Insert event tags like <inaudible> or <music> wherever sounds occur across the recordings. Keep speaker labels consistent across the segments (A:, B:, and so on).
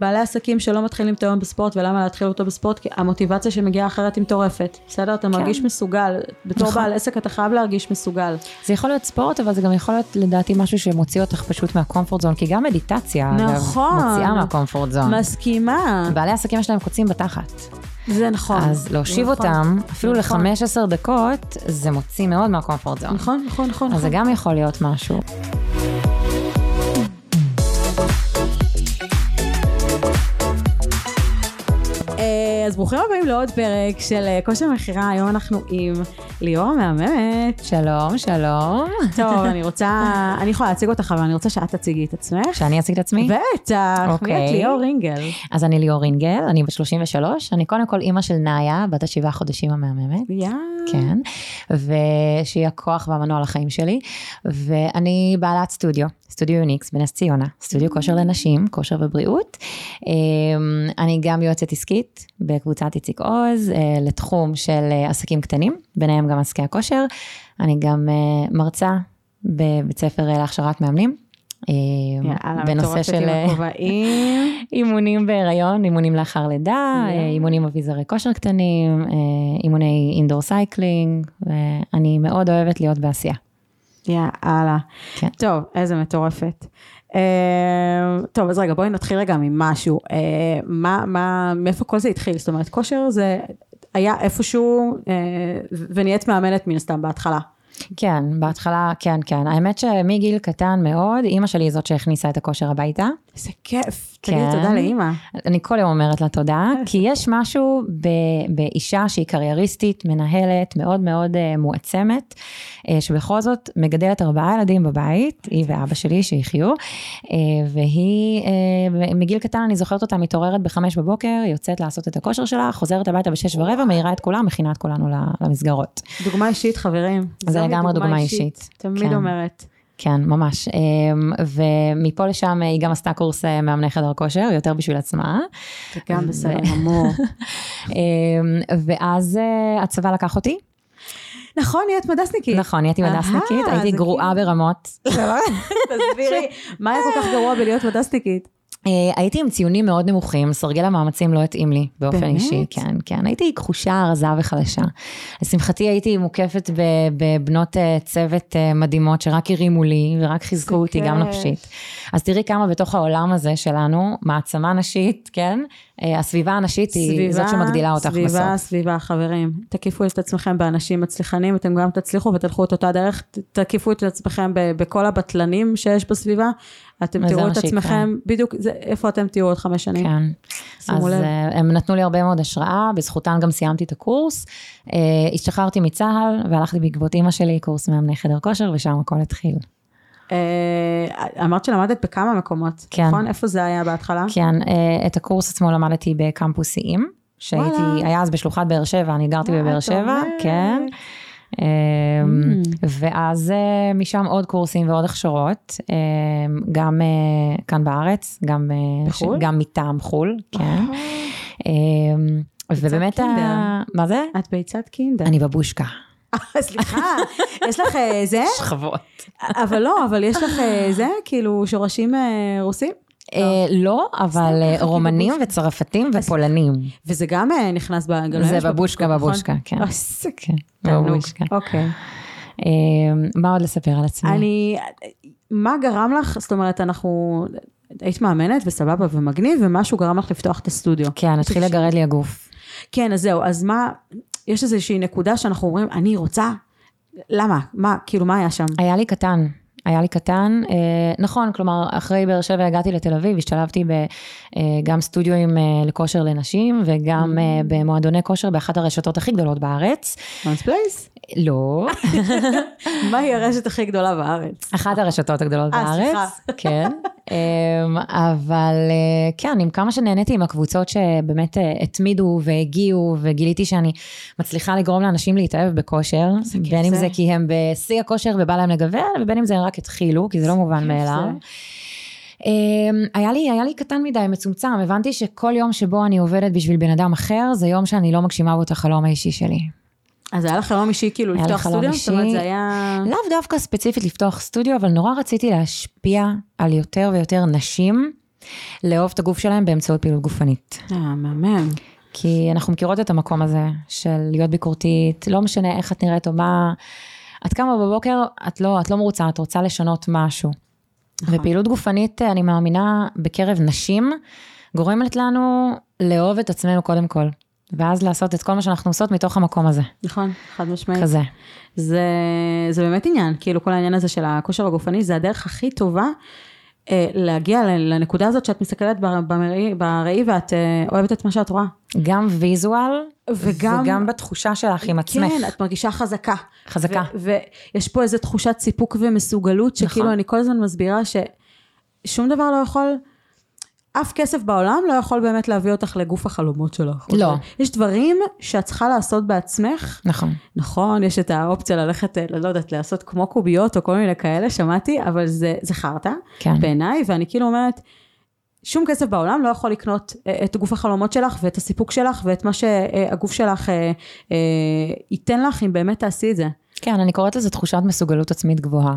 A: בעלי עסקים שלא מתחילים את היום בספורט, ולמה להתחיל אותו בספורט? כי המוטיבציה שמגיעה אחרת היא מטורפת. בסדר? אתה מרגיש מסוגל. בתור
B: כן. נכון.
A: בעל עסק אתה חייב להרגיש מסוגל.
B: זה יכול להיות ספורט, אבל זה גם יכול להיות לדעתי משהו שמוציא אותך פשוט מהקומפורט זון, כי גם מדיטציה, אגב,
A: נכון.
B: מוציאה מהקומפורט זון.
A: מסכימה.
B: בעלי עסקים יש להם קוצים בתחת.
A: זה נכון.
B: אז להושיב
A: נכון.
B: אותם, אפילו
A: נכון.
B: ל-15 דקות, זה מוציא מאוד מהקומפורט זון.
A: נכון, נכון, נכון.
B: אז זה
A: נכון.
B: גם יכול להיות משהו.
A: אה, אז ברוכים הבאים לעוד פרק של אה, כושר מכירה, היום אנחנו עם ליאור המהממת.
B: שלום, שלום.
A: טוב, אני רוצה,
B: <laughs>
A: אני יכולה להציג אותך, אבל אני רוצה שאת תציגי את עצמך.
B: שאני אציג את עצמי?
A: בטח, מי את
B: אוקיי.
A: ליאור רינגל?
B: אז אני ליאור רינגל, אני בת 33, אני קודם כל אימא של נאיה, בת השבעה חודשים המהממת.
A: יא.
B: כן, ושהיא הכוח והמנוע לחיים שלי, ואני בעלת סטודיו, סטודיו יוניקס בנס ציונה, סטודיו כושר לנשים, כושר ובריאות. אמ, אני גם יועצת עסקית בקבוצת איציק עוז, אה, לתחום של אה, עסקים קטנים, ביניהם גם עסקי הכושר. אני גם אה, מרצה בבית ספר אה, להכשרת מאמנים. אמ,
A: יאללה,
B: בנושא
A: מטורפת
B: של
A: עם
B: אה,
A: הכובעים.
B: אימונים בהיריון, אימונים לאחר לידה,
A: יואו.
B: אה, אימונים אביזרי כושר קטנים, אה, אימוני אינדור סייקלינג, ואני מאוד אוהבת להיות בעשייה.
A: יאללה.
B: כן.
A: טוב, איזה מטורפת. אה, טוב, אז רגע, בואי נתחיל רגע ממשהו. אה, מה, מה, מאיפה כל זה התחיל? זאת אומרת, כושר זה היה איפשהו, אה, ו- ונהיית מאמנת מן הסתם בהתחלה.
B: כן, בהתחלה, כן, כן. האמת שמגיל קטן מאוד, אימא שלי היא זאת שהכניסה את הכושר הביתה.
A: איזה כיף.
B: כן.
A: תגידי תודה לאימא.
B: אני כל יום אומרת לה תודה, כי יש משהו ב- באישה שהיא קרייריסטית, מנהלת, מאוד מאוד אה, מועצמת, אה, שבכל זאת מגדלת ארבעה ילדים בבית, היא ואבא שלי שיחיו, אה, והיא, אה, מגיל קטן אני זוכרת אותה מתעוררת בחמש בבוקר, יוצאת לעשות את הכושר שלה, חוזרת הביתה בשש ורבע, מעירה את כולם, מכינה את כולנו ל- למסגרות.
A: דוגמה אישית, חברים.
B: זה
A: זוהי
B: לגמרי דוגמה אישית.
A: תמיד
B: כן.
A: אומרת.
B: כן, ממש. אמ, ומפה לשם אה, היא גם עשתה קורס אה, מאמני חדר כושר, יותר בשביל עצמה.
A: זה גם בסדר
B: ו- <laughs>
A: גמור.
B: אמ, ואז אה, הצבא לקח אותי.
A: נכון, נהיית מדסניקית.
B: נכון, נהייתי
A: אהה,
B: מדסניקית, הייתי
A: זה
B: גרועה
A: כאילו-
B: ברמות. <laughs>
A: תסבירי, מה היה כל כך גרוע בלהיות מדסניקית?
B: אה, הייתי עם ציונים מאוד נמוכים, סרגל המאמצים לא התאים לי באופן
A: באמת?
B: אישי. כן, כן. הייתי כחושה, רזה וחלשה. לשמחתי הייתי מוקפת ב- בבנות אה, צוות אה, מדהימות שרק הרימו לי ורק חיזקו
A: זה
B: אותי גם
A: כיף.
B: נפשית. אז תראי כמה בתוך העולם הזה שלנו, מעצמה נשית, כן? אה, הסביבה הנשית היא זאת שמגדילה אותך
A: סביבה,
B: בסוף.
A: סביבה, סביבה, חברים. תקיפו את עצמכם באנשים מצליחנים, אתם גם תצליחו ותלכו את אותה דרך. ת- תקיפו את עצמכם ב- בכל הבטלנים שיש בסביבה. אתם
B: וזה
A: תראו
B: מה
A: את
B: שיקרה.
A: עצמכם, בדיוק, זה- איפה אתם תהיו עוד חמש שנים.
B: כן.
A: שימו
B: אז
A: לב.
B: אה, הם נתנו לי הרבה מאוד השראה, בזכותם גם סיימתי את הקורס. אה, השתחררתי מצה"ל והלכתי בעקבות אימא שלי, קורס מאמני חדר כושר, ושם הכל התחיל.
A: אה, אמרת שלמדת בכמה מקומות,
B: כן.
A: נכון? איפה זה היה בהתחלה?
B: כן, אה, את הקורס עצמו למדתי בקמפוסים, שהייתי,
A: וואלה. אה,
B: היה אז בשלוחת באר שבע, אני גרתי
A: מה את
B: בבאר שבע,
A: אומרת?
B: כן. אה,
A: Mm.
B: ואז אה, משם עוד קורסים ועוד הכשרות, אה, גם אה, כאן בארץ, גם, אה,
A: בחו"ל?
B: גם מטעם חו"ל, כן.
A: אה,
B: אה, ובאמת, ה-
A: קינדר.
B: מה זה?
A: את ביצת קינדה.
B: אני בבושקה.
A: אה, <laughs> סליחה, יש לך אה, זה?
B: שכבות.
A: אבל לא, אבל יש לך אה, זה? כאילו שורשים אה, רוסים?
B: אה, לא, אבל אה,
A: ככה,
B: רומנים
A: כאילו
B: וצרפתים ופולנים.
A: וזה גם אה, נכנס בגלוי.
B: זה בבושקה
A: נכון.
B: בבושקה, כן.
A: איזה
B: כן,
A: אה, תענוג.
B: בבושקה.
A: אוקיי.
B: אה, מה עוד לספר על עצמי?
A: אני, מה גרם לך, זאת אומרת, אנחנו, היית מאמנת וסבבה ומגניב, ומשהו גרם לך לפתוח את הסטודיו.
B: כן, התחיל לגרד לי הגוף.
A: כן, אז זהו, אז מה, יש איזושהי נקודה שאנחנו אומרים, אני רוצה, למה? מה, כאילו, מה היה שם?
B: היה לי קטן. היה לי קטן, אה, נכון, כלומר, אחרי באר שבע הגעתי לתל אביב, השתלבתי בגם סטודיואים אה, לכושר לנשים
A: Mm.
B: וגם אה, במועדוני כושר באחת הרשתות הכי גדולות בארץ.
A: מונס פלייס?
B: לא,
A: מהי הרשת הכי גדולה בארץ?
B: אחת הרשתות הגדולות
A: אה,
B: בארץ. כן. אמ, אבל אה, כן, עם כמה שנהניתי עם הקבוצות שבאמת אה, התמידו והגיעו, וגיליתי שאני מצליחה לגרום לאנשים להתאהב בכושר,
A: כיף
B: בין אם
A: זה.
B: זה כי הם בשיא הכושר ובא להם לגוון, ובין אם זה הם רק התחילו, כי זה לא מובן
A: כיף
B: מאליו.
A: זה.
B: אמ, היה לי, היה לי קטן מדי, מצומצם, הבנתי שכל יום שבו אני עובדת בשביל בן אדם אחר, זה יום שאני לא מגשימה בו את החלום האישי שלי.
A: אז היה לך חלום אישי, כאילו,
B: היה לי
A: לפתוח
B: חלום
A: סטודיו?
B: אישי.
A: זאת אומרת, זה היה...
B: לאו דווקא ספציפית לפתוח סטודיו, אבל נורא רציתי להשפיע על יותר ויותר נשים לאהוב את הגוף שלהם באמצעות פעילות גופנית.
A: אה, מהמם.
B: כי אנחנו מכירות את המקום הזה של להיות ביקורתית, לא משנה איך את נראית או מה... את קמה בבוקר, את לא, את לא מרוצה, את רוצה לשנות משהו.
A: נכון.
B: ופעילות גופנית, אני מאמינה, בקרב נשים, גורמת לנו לאהוב את עצמנו קודם כל. ואז לעשות את כל מה שאנחנו עושות מתוך המקום הזה,
A: נכון, חד משמעית.
B: כזה.
A: זה, זה באמת עניין, כאילו כל העניין הזה של הכושר הגופני, זה הדרך הכי טובה אה, להגיע ל- לנקודה הזאת שאת מסתכלת בר- במראי, בראי ואת אה, אוהבת את מה שאת רואה.
B: גם ויזואל,
A: וגם-
B: וגם, וגם בתחושה שלך עם עצמך.
A: כן, את מרגישה חזקה.
B: חזקה.
A: ו- ויש פה איזו תחושת סיפוק ומסוגלות, שכאילו
B: נכון.
A: אני כל הזמן מסבירה ששום דבר לא יכול, אף כסף בעולם לא יכול באמת להביא אותך לגוף החלומות שלך. אוקיי?
B: לא.
A: יש דברים שאת צריכה לעשות בעצמך.
B: נכון.
A: נכון, יש את האופציה ללכת, אה, לא יודעת, לעשות כמו קוביות או כל מיני כאלה, שמעתי, אבל זה, זה חרטא
B: כן.
A: בעיניי, ואני כאילו אומרת, שום כסף בעולם לא יכול לקנות אה, את גוף החלומות שלך ואת הסיפוק שלך ואת מה שהגוף שלך אה, אה, ייתן לך אם באמת תעשי את זה.
B: כן, אני קוראת לזה תחושת מסוגלות עצמית גבוהה.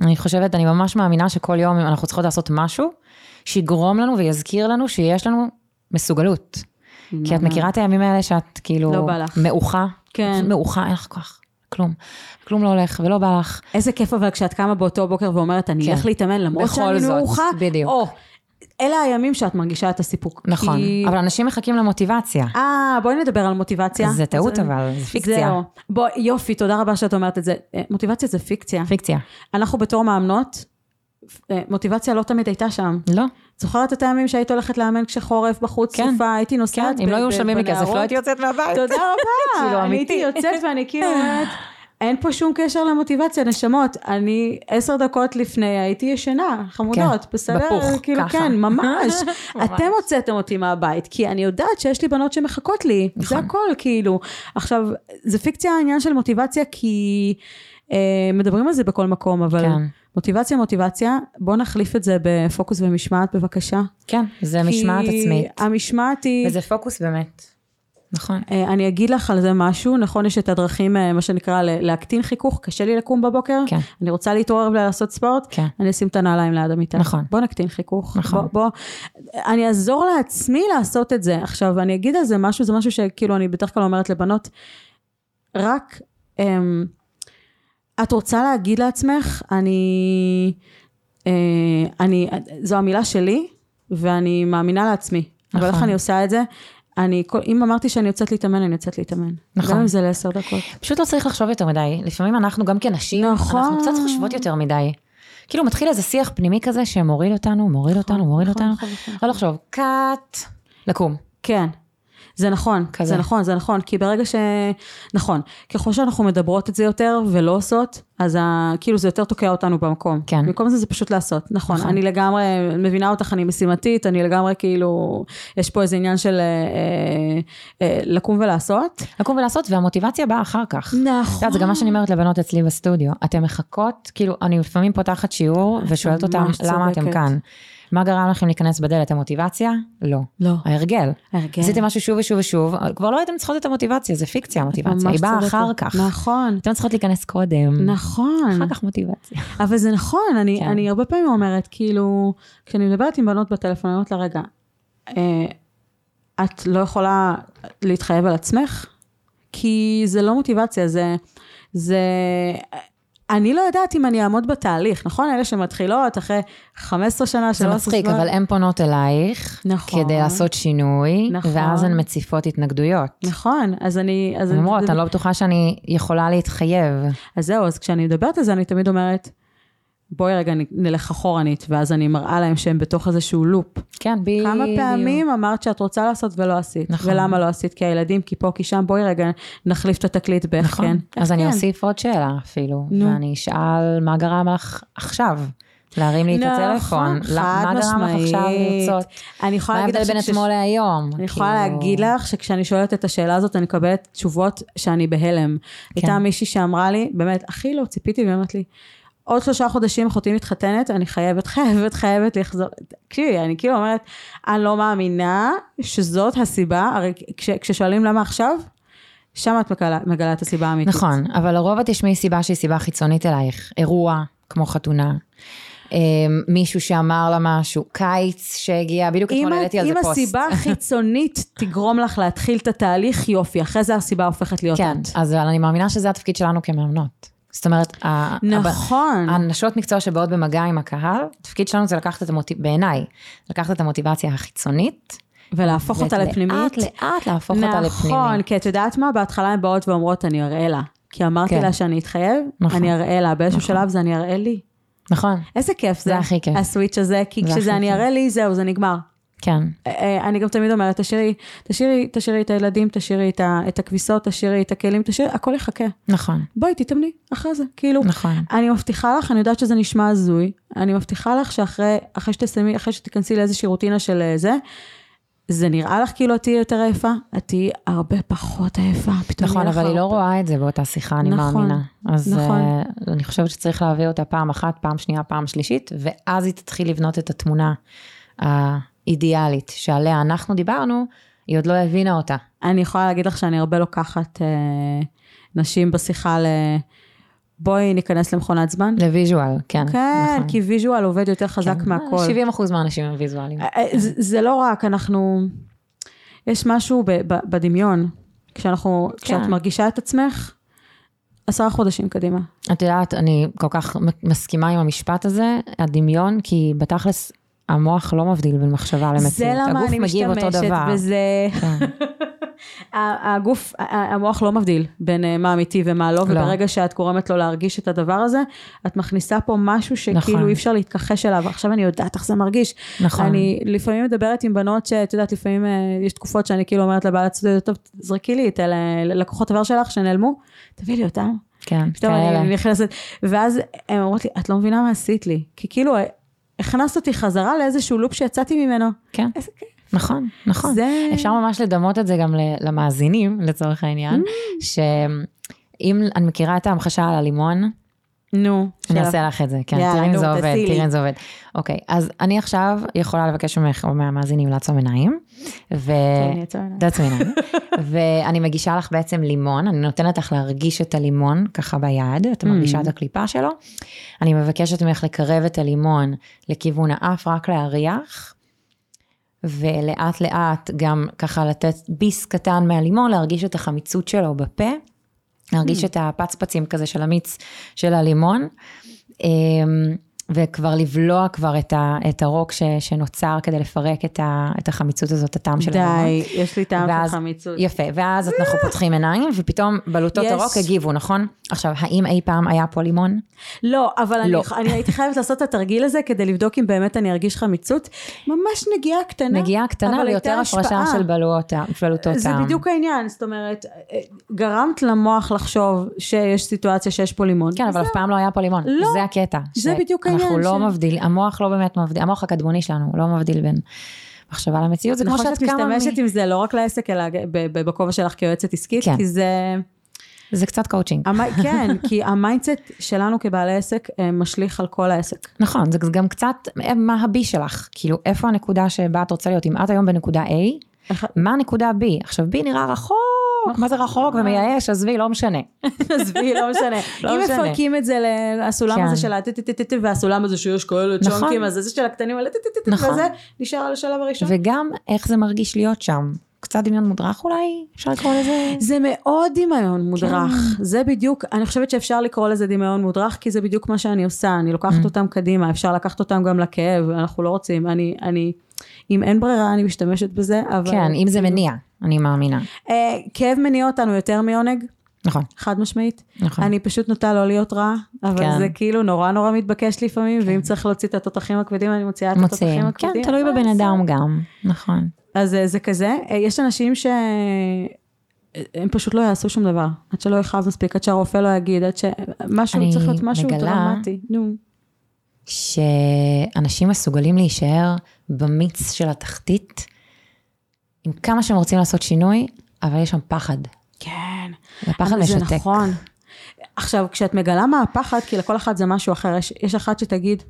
B: אני חושבת, אני ממש מאמינה שכל יום אנחנו צריכות לעשות משהו שיגרום לנו ויזכיר לנו שיש לנו מסוגלות. כי את מכירה את הימים האלה שאת כאילו...
A: לא בא לך.
B: מעוכה.
A: כן.
B: פשוט מעוכה, אין לך כוח. כלום. כלום לא הולך ולא בא לך.
A: איזה כיף אבל כשאת קמה באותו בוקר ואומרת, אני
B: כן.
A: אלך להתאמן למרות
B: בכל
A: שאני
B: זאת,
A: מעוכה,
B: בדיוק.
A: או, אלה הימים שאת מרגישה את הסיפוק.
B: נכון.
A: כי-
B: אבל אנשים מחכים למוטיבציה.
A: אה, בואי נדבר על מוטיבציה.
B: זה טעות
A: אה, אז-
B: אבל, זה פיקציה.
A: זהו. בואי, יופי, תודה רבה שאת אומרת את זה. אה, מוטיבציה זה פיקציה.
B: פיקציה.
A: אנחנו בתור מאמנות, אה, מוטיבציה לא תמיד הייתה שם.
B: לא.
A: את זוכרת את הימים שהיית הולכת לאמן כשחורף בחוץ,
B: כן.
A: סופה, הייתי
B: כן,
A: נוסעת
B: אם
A: ב-
B: לא היו
A: ב-
B: משלמים לי כסף,
A: בנהרות?
B: לא הייתי יוצאת מהבית.
A: תודה
B: <laughs> כאילו,
A: רבה. אני
B: אמיתי.
A: הייתי יוצאת ואני כאילו אומרת, אין פה שום קשר למוטיבציה, נשמות. אני עשר דקות לפני הייתי ישנה, חמודות,
B: כן,
A: בסדר?
B: בפוך,
A: כאילו,
B: ככה.
A: כן, ממש.
B: <laughs> ממש.
A: אתם הוצאתם אותי מהבית, כי אני יודעת שיש לי בנות שמחכות לי. זה
B: נכון.
A: הכל, כאילו. עכשיו, זה פיקציה העניין של מוטיבציה, כי אה, מדברים על זה בכל מקום, אבל
B: כן.
A: מוטיבציה, מוטיבציה, בואו נחליף את זה בפוקוס ומשמעת, בבקשה.
B: כן, זה משמעת
A: כי
B: עצמית.
A: המשמעת היא...
B: וזה פוקוס באמת. נכון.
A: אה, אני אגיד לך על זה משהו, נכון יש את הדרכים, אה, מה שנקרא, ל- להקטין חיכוך, קשה לי לקום בבוקר,
B: כן.
A: אני רוצה להתעורר ולעשות ספורט,
B: כן.
A: אני אשים את הנעליים ליד המיטה.
B: נכון.
A: בוא נקטין חיכוך.
B: נכון.
A: בוא, בוא, אני אעזור לעצמי לעשות את זה. עכשיו, אני אגיד על זה משהו, זה משהו שכאילו אני בדרך כלל אומרת לבנות, רק, אמ, את רוצה להגיד לעצמך, אני, אה, אני, זו המילה שלי, ואני מאמינה לעצמי. אבל
B: נכון.
A: איך אני עושה את זה? אני, כל- אם אמרתי שאני יוצאת להתאמן, אני יוצאת להתאמן.
B: נכון.
A: גם אם זה לעשר דקות.
B: פשוט לא צריך לחשוב יותר מדי. לפעמים אנחנו גם כנשים,
A: נכון.
B: אנחנו קצת חושבות יותר מדי. כאילו מתחיל איזה שיח פנימי כזה שמוריד אותנו, מוריד אותנו, מוריד
A: נכון,
B: אותנו.
A: נכון, נכון.
B: לא לחשוב, קאט, לקום.
A: כן. זה נכון, כזה.
B: כזה.
A: זה נכון, זה נכון, כי ברגע ש... נכון, ככל שאנחנו מדברות את זה יותר ולא עושות, אז ה... כאילו זה יותר תוקע אותנו במקום.
B: כן.
A: במקום זה זה פשוט לעשות, נכון, נכון.
B: נכון.
A: אני לגמרי מבינה אותך, אני משימתית, אני לגמרי כאילו, יש פה איזה עניין של אה, אה, אה, לקום ולעשות.
B: לקום ולעשות, והמוטיבציה באה אחר כך. את
A: נכון.
B: יודעת, זה גם מה שאני אומרת לבנות אצלי בסטודיו. אתן מחכות, כאילו, אני לפעמים פותחת שיעור ושואלת אותם,
A: אה, ממש
B: למה אתם
A: צודקת.
B: כאן? מה גרם לכם להיכנס בדלת? המוטיבציה? לא.
A: לא.
B: ההרגל.
A: הרגל.
B: עשיתם משהו שוב ושוב ושוב, אבל כבר לא הייתם צריכות את המוטיבציה, זה פיקציה המוטיבציה, היא באה אחר כך.
A: נכון,
B: אתם צריכות להיכנס קודם.
A: נכון.
B: אחר כך מוטיבציה.
A: אבל זה נכון, אני, כן.
B: כן.
A: אני הרבה פעמים אומרת, כאילו, כשאני מדברת עם בנות בטלפון, אני אומרת לה, רגע, אה, את לא יכולה להתחייב על עצמך? כי זה לא מוטיבציה, זה... זה... אני לא יודעת אם אני אעמוד בתהליך, נכון? אלה שמתחילות אחרי 15 שנה
B: זה
A: שלא עשו
B: מצחיק,
A: לא זמן.
B: אבל הן פונות אלייך,
A: נכון.
B: כדי לעשות שינוי,
A: נכון.
B: ואז הן מציפות התנגדויות.
A: נכון, אז אני... אז
B: הן אומרות,
A: זה-
B: אני לא בטוחה שאני יכולה להתחייב.
A: אז זהו, אז כשאני מדברת על זה, אני תמיד אומרת, בואי רגע נ- נלך אחורנית, ואז אני מראה להם שהם בתוך איזשהו לופ.
B: כן, בדיוק.
A: כמה פעמים אמרת שאת רוצה לעשות ולא עשית. נכון.
B: נכון.
A: ולמה לא עשית? כי הילדים, כי פה, כי שם, בואי רגע נחליף את התקליט באיך
B: נכון.
A: כן. איך
B: אז אני
A: כן.
B: אוסיף עוד שאלה אפילו,
A: נו.
B: ואני אשאל, מה גרם לך עכשיו? להרים לי את
A: נכון,
B: הטלפון.
A: חד
B: מה גרם לך עכשיו
A: משמעית.
B: לרצות?
A: אני יכולה
B: מה
A: להגיד
B: ההבדל
A: לך
B: בין
A: שכש-
B: אתמול להיום?
A: אני יכולה
B: כאילו-
A: להגיד לך שכשאני שואלת את השאלה הזאת, אני מקבלת תשובות שאני בהלם.
B: כן.
A: הייתה מישהי שאמרה לי, באמת, הכי לא ציפיתי, והיא אמרת לי, עוד שלושה חודשים אחותי מתחתנת, אני חייבת, חייבת, חייבת לחזור. תקשיבי, אני כאילו אומרת, אני לא מאמינה שזאת הסיבה, הרי כש, כששואלים למה עכשיו, שם את מגלה, מגלה את הסיבה האמיתית.
B: נכון, אבל לרוב את תשמעי סיבה שהיא סיבה חיצונית אלייך, אירוע כמו חתונה, אמ, מישהו שאמר לה משהו, קיץ שהגיע, בדיוק
A: אם
B: אתמול
A: ה-
B: העליתי על זה
A: אם
B: פוסט.
A: הסיבה החיצונית תגרום לך להתחיל את התהליך, יופי, אחרי זה הסיבה הופכת להיות
B: כן,
A: את.
B: אז אבל אני מאמינה שזה התפקיד שלנו כמאמנות. זאת אומרת, ה-
A: נכון.
B: הנשות מקצוע שבאות במגע עם הקהל, התפקיד שלנו זה לקחת את המוטיב... בעיניי, לקחת את המוטיבציה החיצונית.
A: ולהפוך אותה
B: ואת
A: לפנימית.
B: לאט לאט להפוך אותה
A: נכון,
B: לפנימית.
A: כי את יודעת מה? בהתחלה הן באות ואומרות, אני אראה לה. כי אמרתי
B: כן.
A: לה שאני אתחייב,
B: נכון.
A: אני אראה לה. באיזשהו
B: נכון.
A: שלב זה אני אראה לי.
B: נכון,
A: איזה כיף זה.
B: זה הכי כיף.
A: הסוויץ' הזה, כי
B: זה
A: כשזה
B: הכי
A: אני
B: כיף.
A: אראה לי, זהו, זה נגמר.
B: כן.
A: אה, אה, אני גם תמיד אומרת, תשאירי, תשאירי, תשאירי את הילדים, תשאירי את ה- את הכביסות, תשאירי את הכלים, תשאירי, הכל יחכה.
B: נכון,
A: בואי, תתאמני, אחרי זה. כאילו,
B: נכון.
A: אני מבטיחה לך, אני יודעת שזה נשמע הזוי, אני מבטיחה לך שאחרי אחרי שתסיימי, אחרי שתיכנסי לאיזושהי רוטינה של אה, זה, זה נראה לך כאילו את תהיי יותר עייפה? את תהיי הרבה פחות עייפה. פתאום
B: נכון,
A: יהיה לך
B: אבל היא לא
A: הרבה-
B: רואה את זה באותה שיחה, אני
A: נכון,
B: מאמינה. אז
A: נכון.
B: אה, אני חושבת שצריך להביא אותה פעם אחת, פעם שנייה, פעם שלישית, ואז היא תתחיל לבנות את התמונה האידיאלית שעליה אנחנו דיברנו, היא עוד לא הבינה אותה.
A: אני יכולה להגיד לך שאני הרבה לוקחת אה, נשים בשיחה ל... בואי ניכנס למכונת זמן.
B: לוויז'ואל, כן.
A: כן,
B: נכון.
A: כי ויז'ואל עובד יותר חזק
B: כן.
A: מהכל.
B: 70% מהאנשים הם ויזואלים.
A: אה, אה, זה- זה לא רק, אנחנו... יש משהו ב- ב- בדמיון. כשאנחנו,
B: כן.
A: כשאת מרגישה את עצמך, עשרה חודשים קדימה.
B: את יודעת, אני כל כך מ- מסכימה עם המשפט הזה, הדמיון, כי בתכלס המוח לא מבדיל בין מחשבה למציאות.
A: זה למה אני
B: הגוף מגיב אותו
A: משתמשת
B: דבר.
A: בזה.
B: כן,
A: <laughs> ה- הגוף, ה- המוח לא מבדיל בין אה, מה אמיתי ומה לא, וברגע שאת גורמת לו להרגיש את הדבר הזה, את מכניסה פה משהו
B: נכון.
A: שכאילו אי אפשר להתכחש אליו. עכשיו אני יודעת איך זה מרגיש.
B: נכון.
A: אני לפעמים מדברת עם בנות שאת יודעת, לפעמים אה, יש תקופות שאני כאילו אומרת לבעלת סטודיו, טוב, זרקי לי את אלה- לקוחות עבר שלך שנעלמו, תביאי לי אותם.
B: כן,
A: פתאום
B: כאלה.
A: אני נכנסת, ואז הן אומרות לי, את לא מבינה מה עשית לי. כי כאילו, אה, הכנסת אותי חזרה לאיזשהו לופ שיצאתי ממנו.
B: כן,
A: איזה כיף.
B: נכון, נכון.
A: זה...
B: אפשר ממש לדמות את זה גם ל- למאזינים, לצורך העניין,
A: Mm.
B: שאם אני מכירה את ההמחשה על הלימון,
A: נו.
B: אני
A: שאלה.
B: אעשה לך את זה, כן,
A: יאללה,
B: תראי אם
A: נו,
B: זה עובד,
A: תעשי לי.
B: תראי אם זה עובד. אוקיי, אז אני עכשיו יכולה לבקש ממך או מהמאזינים לעצום עיניים, ו...
A: כן, יצא ממנו.
B: תעצמי עיניים. ואני מגישה לך בעצם לימון, אני נותנת לך להרגיש את הלימון ככה ביד, את מרגישה את הקליפה שלו. אני מבקשת ממך לקרב את הלימון לכיוון האף, רק להריח. ולאט לאט גם ככה לתת ביס קטן מהלימון, להרגיש את החמיצות שלו בפה, להרגיש את הפצפצים כזה של המיץ של הלימון, אמ, וכבר לבלוע כבר את, ה, את הרוק ש, שנוצר כדי לפרק את, ה, את החמיצות הזאת, הטעם של הלימון.
A: די, יש לי טעם
B: ואז-
A: של חמיצות.
B: יפה, ואז אנחנו פותחים עיניים, ופתאום בלוטות
A: יש.
B: הרוק הגיבו, נכון? עכשיו, האם אי פעם היה פה לימון?
A: לא, אבל אני-
B: לא.
A: אני הייתי חייבת לעשות את התרגיל הזה כדי לבדוק אם באמת אני ארגיש חמיצות. ממש נגיעה קטנה.
B: נגיעה קטנה
A: לא, אבל הייתה
B: ויותר הפרשה
A: השפעה.
B: של בלועות טעם- בלוטות
A: זה
B: טעם.
A: בדיוק העניין, זאת אומרת, אה, גרמת למוח לחשוב שיש סיטואציה שיש פה לימון.
B: כן, אבל אף פעם לא היה פה לימון.
A: לא.
B: זה הקטע.
A: זה בדיוק העניין
B: אנחנו לא
A: של-
B: מבדיל, המוח לא באמת מבדיל, המוח הקדמוני שלנו הוא לא מבדיל בין מחשבה למציאות. זה כמו
A: נכון
B: שאת
A: שאת
B: קמה מ...
A: משתמשת עם זה לא רק לעסק, אלא ב- ב- בכובע שלך כיועצת עסקית,
B: כן.
A: כי זה...
B: זה קצת קואוצ'ינג.
A: המ- <laughs> כן, כי המיינדסט שלנו כבעלי עסק אה, משליך על כל העסק. <laughs>
B: נכון, זה גם קצת מה הבי שלך. כאילו, איפה הנקודה שבה את רוצה להיות? אם את היום בנקודה A,
A: איך-
B: מה הנקודה B? עכשיו, B נראה
A: נכון.
B: רחוק, מה זה רחוק ומייאש, עזבי, לא משנה.
A: עזבי, לא משנה.
B: לא
A: אם
B: משנה.
A: מפרקים את זה לסולם
B: כן.
A: הזה של הטטטטט והסולם הזה שיש כאלה
B: נכון.
A: צ'ונקים, אז זה של הקטנים האלה טטטטט
B: נכון.
A: וזה, נשאר על השלב הראשון.
B: וגם איך זה מרגיש להיות שם. קצת דמיון מודרך אולי? אפשר לקרוא לזה?
A: זה מאוד דמיון מודרך,
B: כן.
A: זה בדיוק, אני חושבת שאפשר לקרוא לזה דמיון מודרך, כי זה בדיוק מה שאני עושה, אני
B: Mm.
A: לוקחת אותם קדימה, אפשר לקחת אותם גם לכאב, אנחנו לא רוצים, אני, אני, אם אין ברירה אני משתמשת בזה, אבל... כאילו-
B: כן, אם זה מניע, אני מאמינה.
A: אה, כאב מניע אותנו יותר מעונג,
B: נכון,
A: חד משמעית.
B: נכון.
A: אני פשוט נוטה לא להיות רעה, אבל
B: כן.
A: זה כאילו נורא נורא מתבקש לפעמים, ואם צריך להוציא את התותחים הכבדים, אני מוציאה את התותחים
B: מוציאים. כן,
A: הכבדים. אה,
B: תלוי
A: אבל
B: בבן
A: בסדר.
B: אדם גם. נכון.
A: אז אה, זה כזה, אה, יש אנשים שהם פשוט לא יעשו שום דבר, עד שלא יכאב מספיק, עד שהרופא לא יגיד, עד שמשהו,
B: אני
A: צריך להיות משהו
B: מגלה-
A: דרמטי. נו,
B: שאנשים מסוגלים להישאר במיץ של התחתית, עם כמה שהם רוצים לעשות שינוי, אבל יש שם פחד.
A: כן.
B: והפחד
A: אבל
B: משתק.
A: זה נכון. עכשיו, כשאת מגלה מה הפחד, כי לכל אחד זה משהו אחר, יש, יש אחת שתגיד,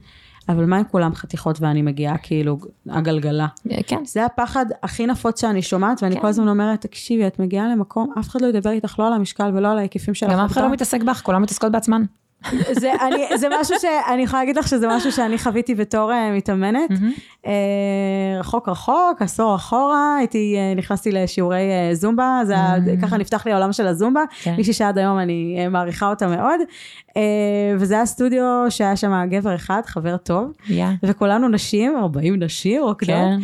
A: אבל מה אם כולם חתיכות ואני מגיעה כאילו הגלגלה?
B: כן,
A: זה הפחד הכי נפוץ שאני שומעת, ואני
B: כן.
A: כל הזמן אומרת, תקשיבי, את מגיעה למקום, אף אחד לא ידבר איתך לא על המשקל ולא על ההיקפים שלך.
B: גם אף אחד לא מתעסק בך, כולם מתעסקות בעצמן.
A: זה, אני, זה משהו שאני יכולה להגיד לך שזה משהו שאני חוויתי בתור אה, מתאמנת. אה, רחוק רחוק, עשור אחורה, הייתי, אה, נכנסתי לשיעורי אה, זומבה, זה היה,
B: Mm.
A: ככה נפתח לי העולם של הזומבה,
B: כן.
A: מישהי שעד היום אני אה, מעריכה אותה מאוד, אה, וזה היה סטודיו שהיה שם גבר אחד, חבר טוב,
B: יא.
A: וכולנו נשים, 40 נשים, רוקדות,
B: כן.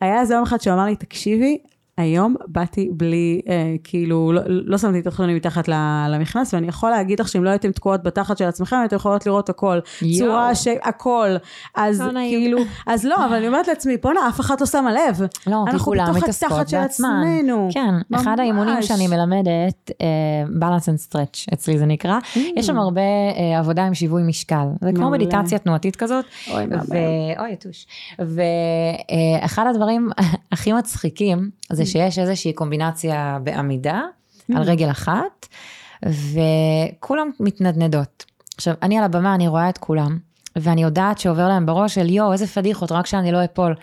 A: היה איזה יום אחד שהוא אמר לי, תקשיבי, היום באתי בלי, אה, כאילו, לא, לא שמתי את התחתונים מתחת ל- למכנס, ואני יכול להגיד לך שאם לא הייתם תקועות בתחת של עצמכם, הייתם יכולות לראות הכל.
B: יואו.
A: צורה, ש... הכל. אז
B: לא נעים.
A: כאילו, אז לא, אבל אני אומרת לעצמי, בואנה, אף אחת לא שמה לב.
B: לא, כי
A: אנחנו
B: כולם
A: בתוך
B: מתעסקות
A: התחת של
B: בעצמן.
A: עצמנו.
B: כן, ממש. אחד
A: ממש.
B: האימונים שאני מלמדת, אה, בלנס אנד סטרץ', אצלי זה נקרא,
A: Mm.
B: יש שם הרבה אה, עבודה עם שיווי משקל. זה כמו
A: מעולה.
B: מדיטציה תנועתית כזאת.
A: אוי, מהמם.
B: ו- אוי, יתוש. ואחד הדברים <laughs> הכי מצחיקים,
A: Mm.
B: זה שיש איזושהי קומבינציה בעמידה, על רגל אחת, וכולם מתנדנדות. עכשיו, אני על הבמה, אני רואה את כולם, ואני יודעת שעובר להם בראש של יואו, איזה פדיחות, רק שאני לא אפול.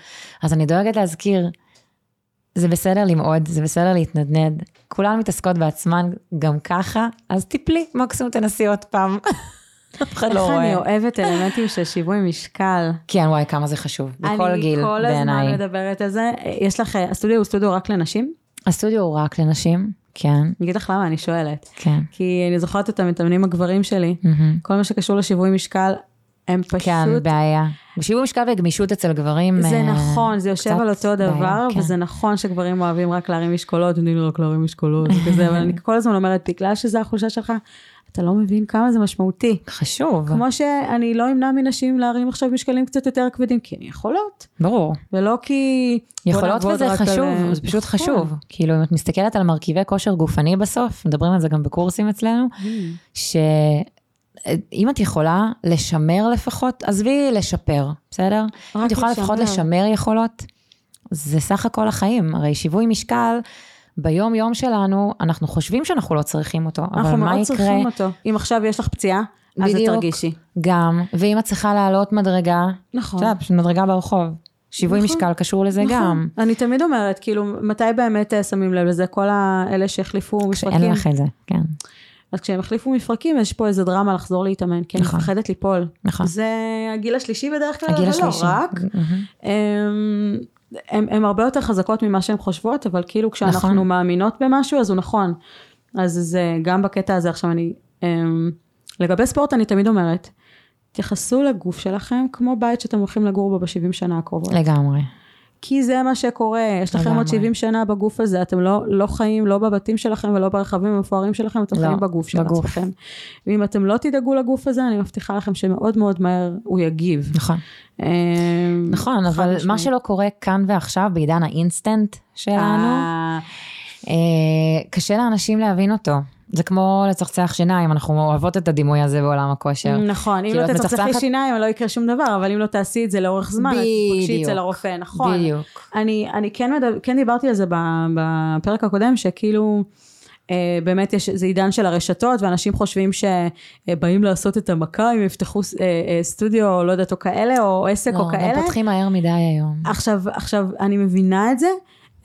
B: אז אני דואגת להזכיר, זה בסדר למעוד, זה בסדר להתנדנד. כולן מתעסקות בעצמן גם ככה, אז תיפלי, מקסימום תנסי עוד פעם. <laughs> אף אחד לא
A: איך אני
B: רואה.
A: אוהבת אלמנטים של שיווי משקל.
B: כן, וואי, כמה זה חשוב. בכל
A: אני
B: גיל,
A: כל הזמן
B: בעיניי.
A: מדברת על זה. אה, יש לך, אה, הסטודיו הוא סטודיו רק לנשים?
B: הסטודיו הוא רק לנשים, כן,
A: אני אגיד לך למה, אני שואלת.
B: כן.
A: כי אני זוכרת את המתאמנים הגברים שלי,
B: מהמם.
A: כל מה שקשור לשיווי משקל, הם פשוט...
B: כן, בעיה. שיווי משקל וגמישות אצל גברים.
A: זה
B: אה,
A: נכון, זה יושב
B: קצת
A: על אותו
B: בעיה,
A: דבר,
B: כן.
A: וזה נכון שגברים אוהבים רק להרים משקולות, תני לי רק להרים משקולות וכזה, אבל
B: <laughs>
A: אני כל הזמן אומרת, בגלל שזו החולשה שלך, אתה לא מבין כמה זה משמעותי.
B: חשוב,
A: כמו שאני לא אמנע מנשים להרים עכשיו משקלים קצת יותר כבדים, כי הן יכולות,
B: ברור.
A: ולא כי... בוא
B: יכולות
A: נעבוד
B: וזה
A: רק
B: חשוב,
A: על-
B: זה פשוט
A: נכון.
B: חשוב. כאילו, אם את מסתכלת על מרכיבי כושר גופני בסוף, מדברים על זה גם בקורסים אצלנו, שאם את יכולה לשמר לפחות, עזבי לשפר, בסדר? אם
A: רק
B: את יכולה לפחות
A: לשמר.
B: לשמר יכולות, זה סך הכל החיים. הרי שיווי משקל, ביום-יום שלנו, אנחנו חושבים שאנחנו לא צריכים אותו, אבל
A: אנחנו
B: מה
A: מאוד
B: יקרה
A: צריכים אותו. אם עכשיו יש לך פציעה, אז את
B: בדיוק.
A: תרגישי.
B: גם, ואם את צריכה לעלות מדרגה, את
A: נכון.
B: יודעת, פשוט מדרגה ברחוב. שיווי
A: נכון.
B: משקל קשור לזה
A: נכון.
B: גם.
A: אני תמיד אומרת, כאילו, מתי באמת אה, שמים לב לזה? כל האלה שהחליפו משחקים.
B: כשאין לך את זה, כן,
A: אז כשהם החליפו מפרקים, יש פה איזה דרמה לחזור להתאמן, כי אני
B: נכון.
A: מפחדת ליפול.
B: נכון.
A: זה הגיל השלישי בדרך כלל,
B: הגיל
A: אבל
B: השלישי.
A: לא רק.
B: מהמם.
A: הם, הם, הם הרבה יותר חזקות ממה שהן חושבות, אבל כאילו כשאנחנו
B: נכון.
A: נכון. מאמינות במשהו, אז הוא נכון. אז זה גם בקטע הזה. עכשיו אני, הם, לגבי ספורט אני תמיד אומרת, תתייחסו לגוף שלכם כמו בית שאתם הולכים לגור בו ב-70 שנה הקרובות.
B: לגמרי.
A: כי זה מה שקורה, יש לכם
B: לגמרי.
A: עוד 70 שנה בגוף הזה, אתם לא, לא חיים לא בבתים שלכם ולא ברכבים המפוארים שלכם, אתם
B: לא,
A: חיים בגוף של
B: בגוף.
A: עצמכם. ואם אתם לא תדאגו לגוף הזה, אני מבטיחה לכם שמאוד מאוד מהר הוא יגיב.
B: נכון.
A: אמ,
B: נכון, אבל מה
A: משמעית.
B: שלא קורה כאן ועכשיו, בעידן האינסטנט שלנו,
A: אה,
B: אה, קשה לאנשים להבין אותו. זה כמו לצחצח שיניים, אנחנו אוהבות את הדימוי הזה בעולם הכושר.
A: נכון, אם
B: כאילו,
A: לא
B: את
A: תצחצחי
B: מצחצחת-
A: שיניים לא יקרה שום דבר, אבל אם לא תעשי את זה לאורך זמן, אז תפגשי
B: בדיוק.
A: אצל הרופא, נכון.
B: בדיוק.
A: אני, אני כן, מדבר, כן דיברתי על זה ב- בפרק הקודם, שכאילו... אה, באמת יש, זה עידן של הרשתות, ואנשים חושבים שבאים לעשות את המכה, אם יפתחו ס- אה, אה, סטודיו, או לא יודעת, או כאלה, או עסק, או
B: לא,
A: כאלה.
B: גם פותחים מהר מדי היום.
A: עכשיו, עכשיו, אני מבינה את זה.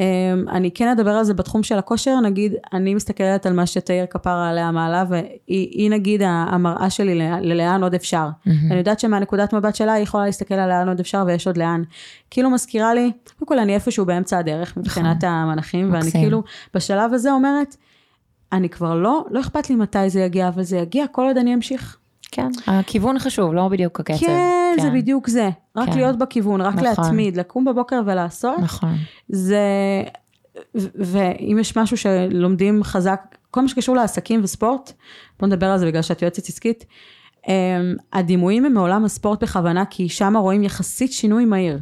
A: אמ, אני כן אדבר על זה בתחום של הכושר, נגיד, אני מסתכלת על מה שתאיר כפרה עליה מעלה, והיא היא, נגיד ה- המראה שלי ל- ללאן עוד אפשר.
B: מהמם.
A: אני יודעת שמהנקודת מבט שלה, היא יכולה להסתכל על לאן עוד אפשר ויש עוד לאן. כאילו מזכירה לי, קודם כל אני איפשהו באמצע הדרך מבחינת המנחים, ואני
B: נכון. מקסים.
A: כאילו בשלב הזה אומרת, אני כבר לא, לא אכפת לי מתי זה יגיע, אבל זה יגיע כל עוד אני אמשיך.
B: כן, הכיוון חשוב, לא בדיוק הקצב.
A: כן, זה בדיוק זה. רק
B: כן.
A: להיות בכיוון, רק
B: נכון.
A: להתמיד, לקום בבוקר ולעשות.
B: נכון.
A: זה, ו- ואם יש משהו שלומדים חזק, כל מה שקשור לעסקים וספורט, בוא נדבר על זה בגלל שאת יועצת עסקית, אמ, הדימויים הם מעולם הספורט בכוונה, כי שם רואים יחסית שינוי מהיר.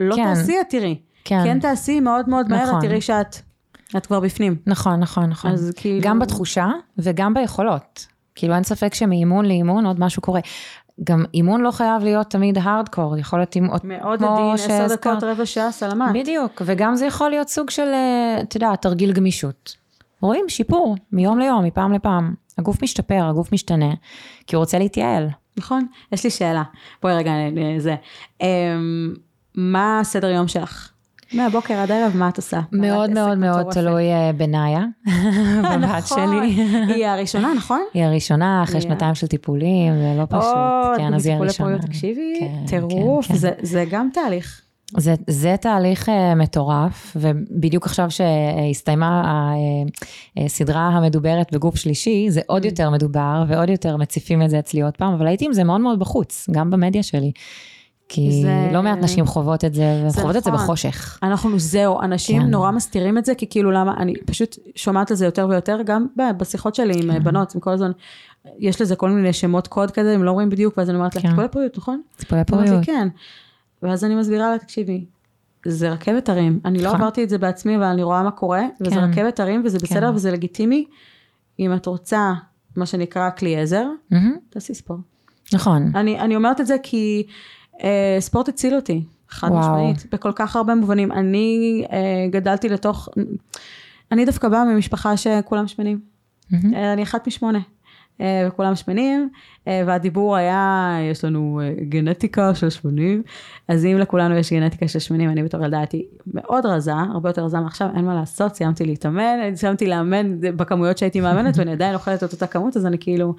A: לא
B: כן.
A: תעשי, את תראי.
B: כן.
A: כן תעשי מאוד מאוד מהר,
B: נכון.
A: את תראי שאת, את כבר בפנים.
B: נכון, נכון, נכון.
A: אז כאילו...
B: גם בתחושה וגם ביכולות. כאילו אין ספק שמאימון לאימון עוד משהו קורה. גם אימון לא חייב להיות תמיד הארדקור, יכול להיות אימון,
A: מאוד עדין, עשר דקות, רבע שעה, סלמת.
B: בדיוק, וגם זה יכול להיות סוג של, אה, אתה יודע, תרגיל גמישות. רואים שיפור מיום ליום, מפעם לפעם. הגוף משתפר, הגוף משתנה, כי הוא רוצה להתייעל.
A: נכון? אה, יש לי שאלה. בואי רגע, אה, זה. אמ, מה הסדר יום שלך? מהבוקר עד הערב, מה את עושה?
B: מאוד
A: בעלת עסק
B: מאוד מאוד
A: מטורפת.
B: תלוי אה, <laughs> בנאיה, בבת
A: נכון.
B: שלי.
A: <laughs> היא הראשונה, נכון?
B: היא הראשונה, אחרי
A: היא-
B: שנתיים של טיפולים, זה לא פשוט. כן, אז
A: בטיפולי
B: היא הראשונה.
A: פוריות, תקשיבי,
B: כן,
A: טירוף,
B: כן, כן.
A: זה- זה גם תהליך.
B: זה, זה תהליך אה, מטורף, ובדיוק עכשיו שהסתיימה ה- אה, הסדרה המדוברת בגוף שלישי, זה
A: Mm.
B: עוד יותר מדובר ועוד יותר מציפים את זה אצלי עוד פעם, אבל הייתי עם זה מאוד מאוד בחוץ, גם במדיה שלי. כי
A: זה-
B: זה... לא מעט נשים חוות את זה, והן
A: זה
B: חוות את זה
A: נכון.
B: בחושך.
A: אנחנו זהו, אנשים
B: כן.
A: נורא מסתירים את זה, כי כאילו למה, אני פשוט שומעת על זה יותר ויותר, גם ב- בשיחות שלי עם אה, בנות, עם כל הזמן, יש לזה כל מיני שמות קוד כזה, הם לא רואים בדיוק, ואז אני אומרת לה,
B: כן.
A: טיפולי פוריות, נכון?
B: טיפולי
A: היא אומרת לי,
B: פוריות.
A: כן. ואז אני מסבירה לה, תקשיבי, זה רכבת הרים. אני לא
B: נכון.
A: עברתי את זה בעצמי, אבל אני רואה מה קורה, וזה
B: כן.
A: רכבת הרים, וזה בסדר,
B: כן.
A: וזה לגיטימי. אם את רוצה, מה שנקרא, כלי עזר,
B: מהמם,
A: תעשי ספורט.
B: נכון.
A: אני, אני אומרת את זה כי אה, ספורט הציל אותי, חד
B: וואו.
A: משמעית, בכל כך הרבה מובנים. אני אה, גדלתי לתוך, אני דווקא באה ממשפחה שכולם שמנים.
B: מהמם.
A: אה, אני אחת משמונה. אה, וכולם שמנים, אה, והדיבור היה, יש לנו אה, גנטיקה של שמנים, אז אם לכולנו יש גנטיקה של שמנים, אני בתור ילדה הייתי מאוד רזה, הרבה יותר רזה מעכשיו, אין מה לעשות, סיימתי להתאמן, סיימתי לאמן בכמויות שהייתי מאמנת,
B: <laughs>
A: ואני עדיין אוכלת את אותה כמות, אז אני כאילו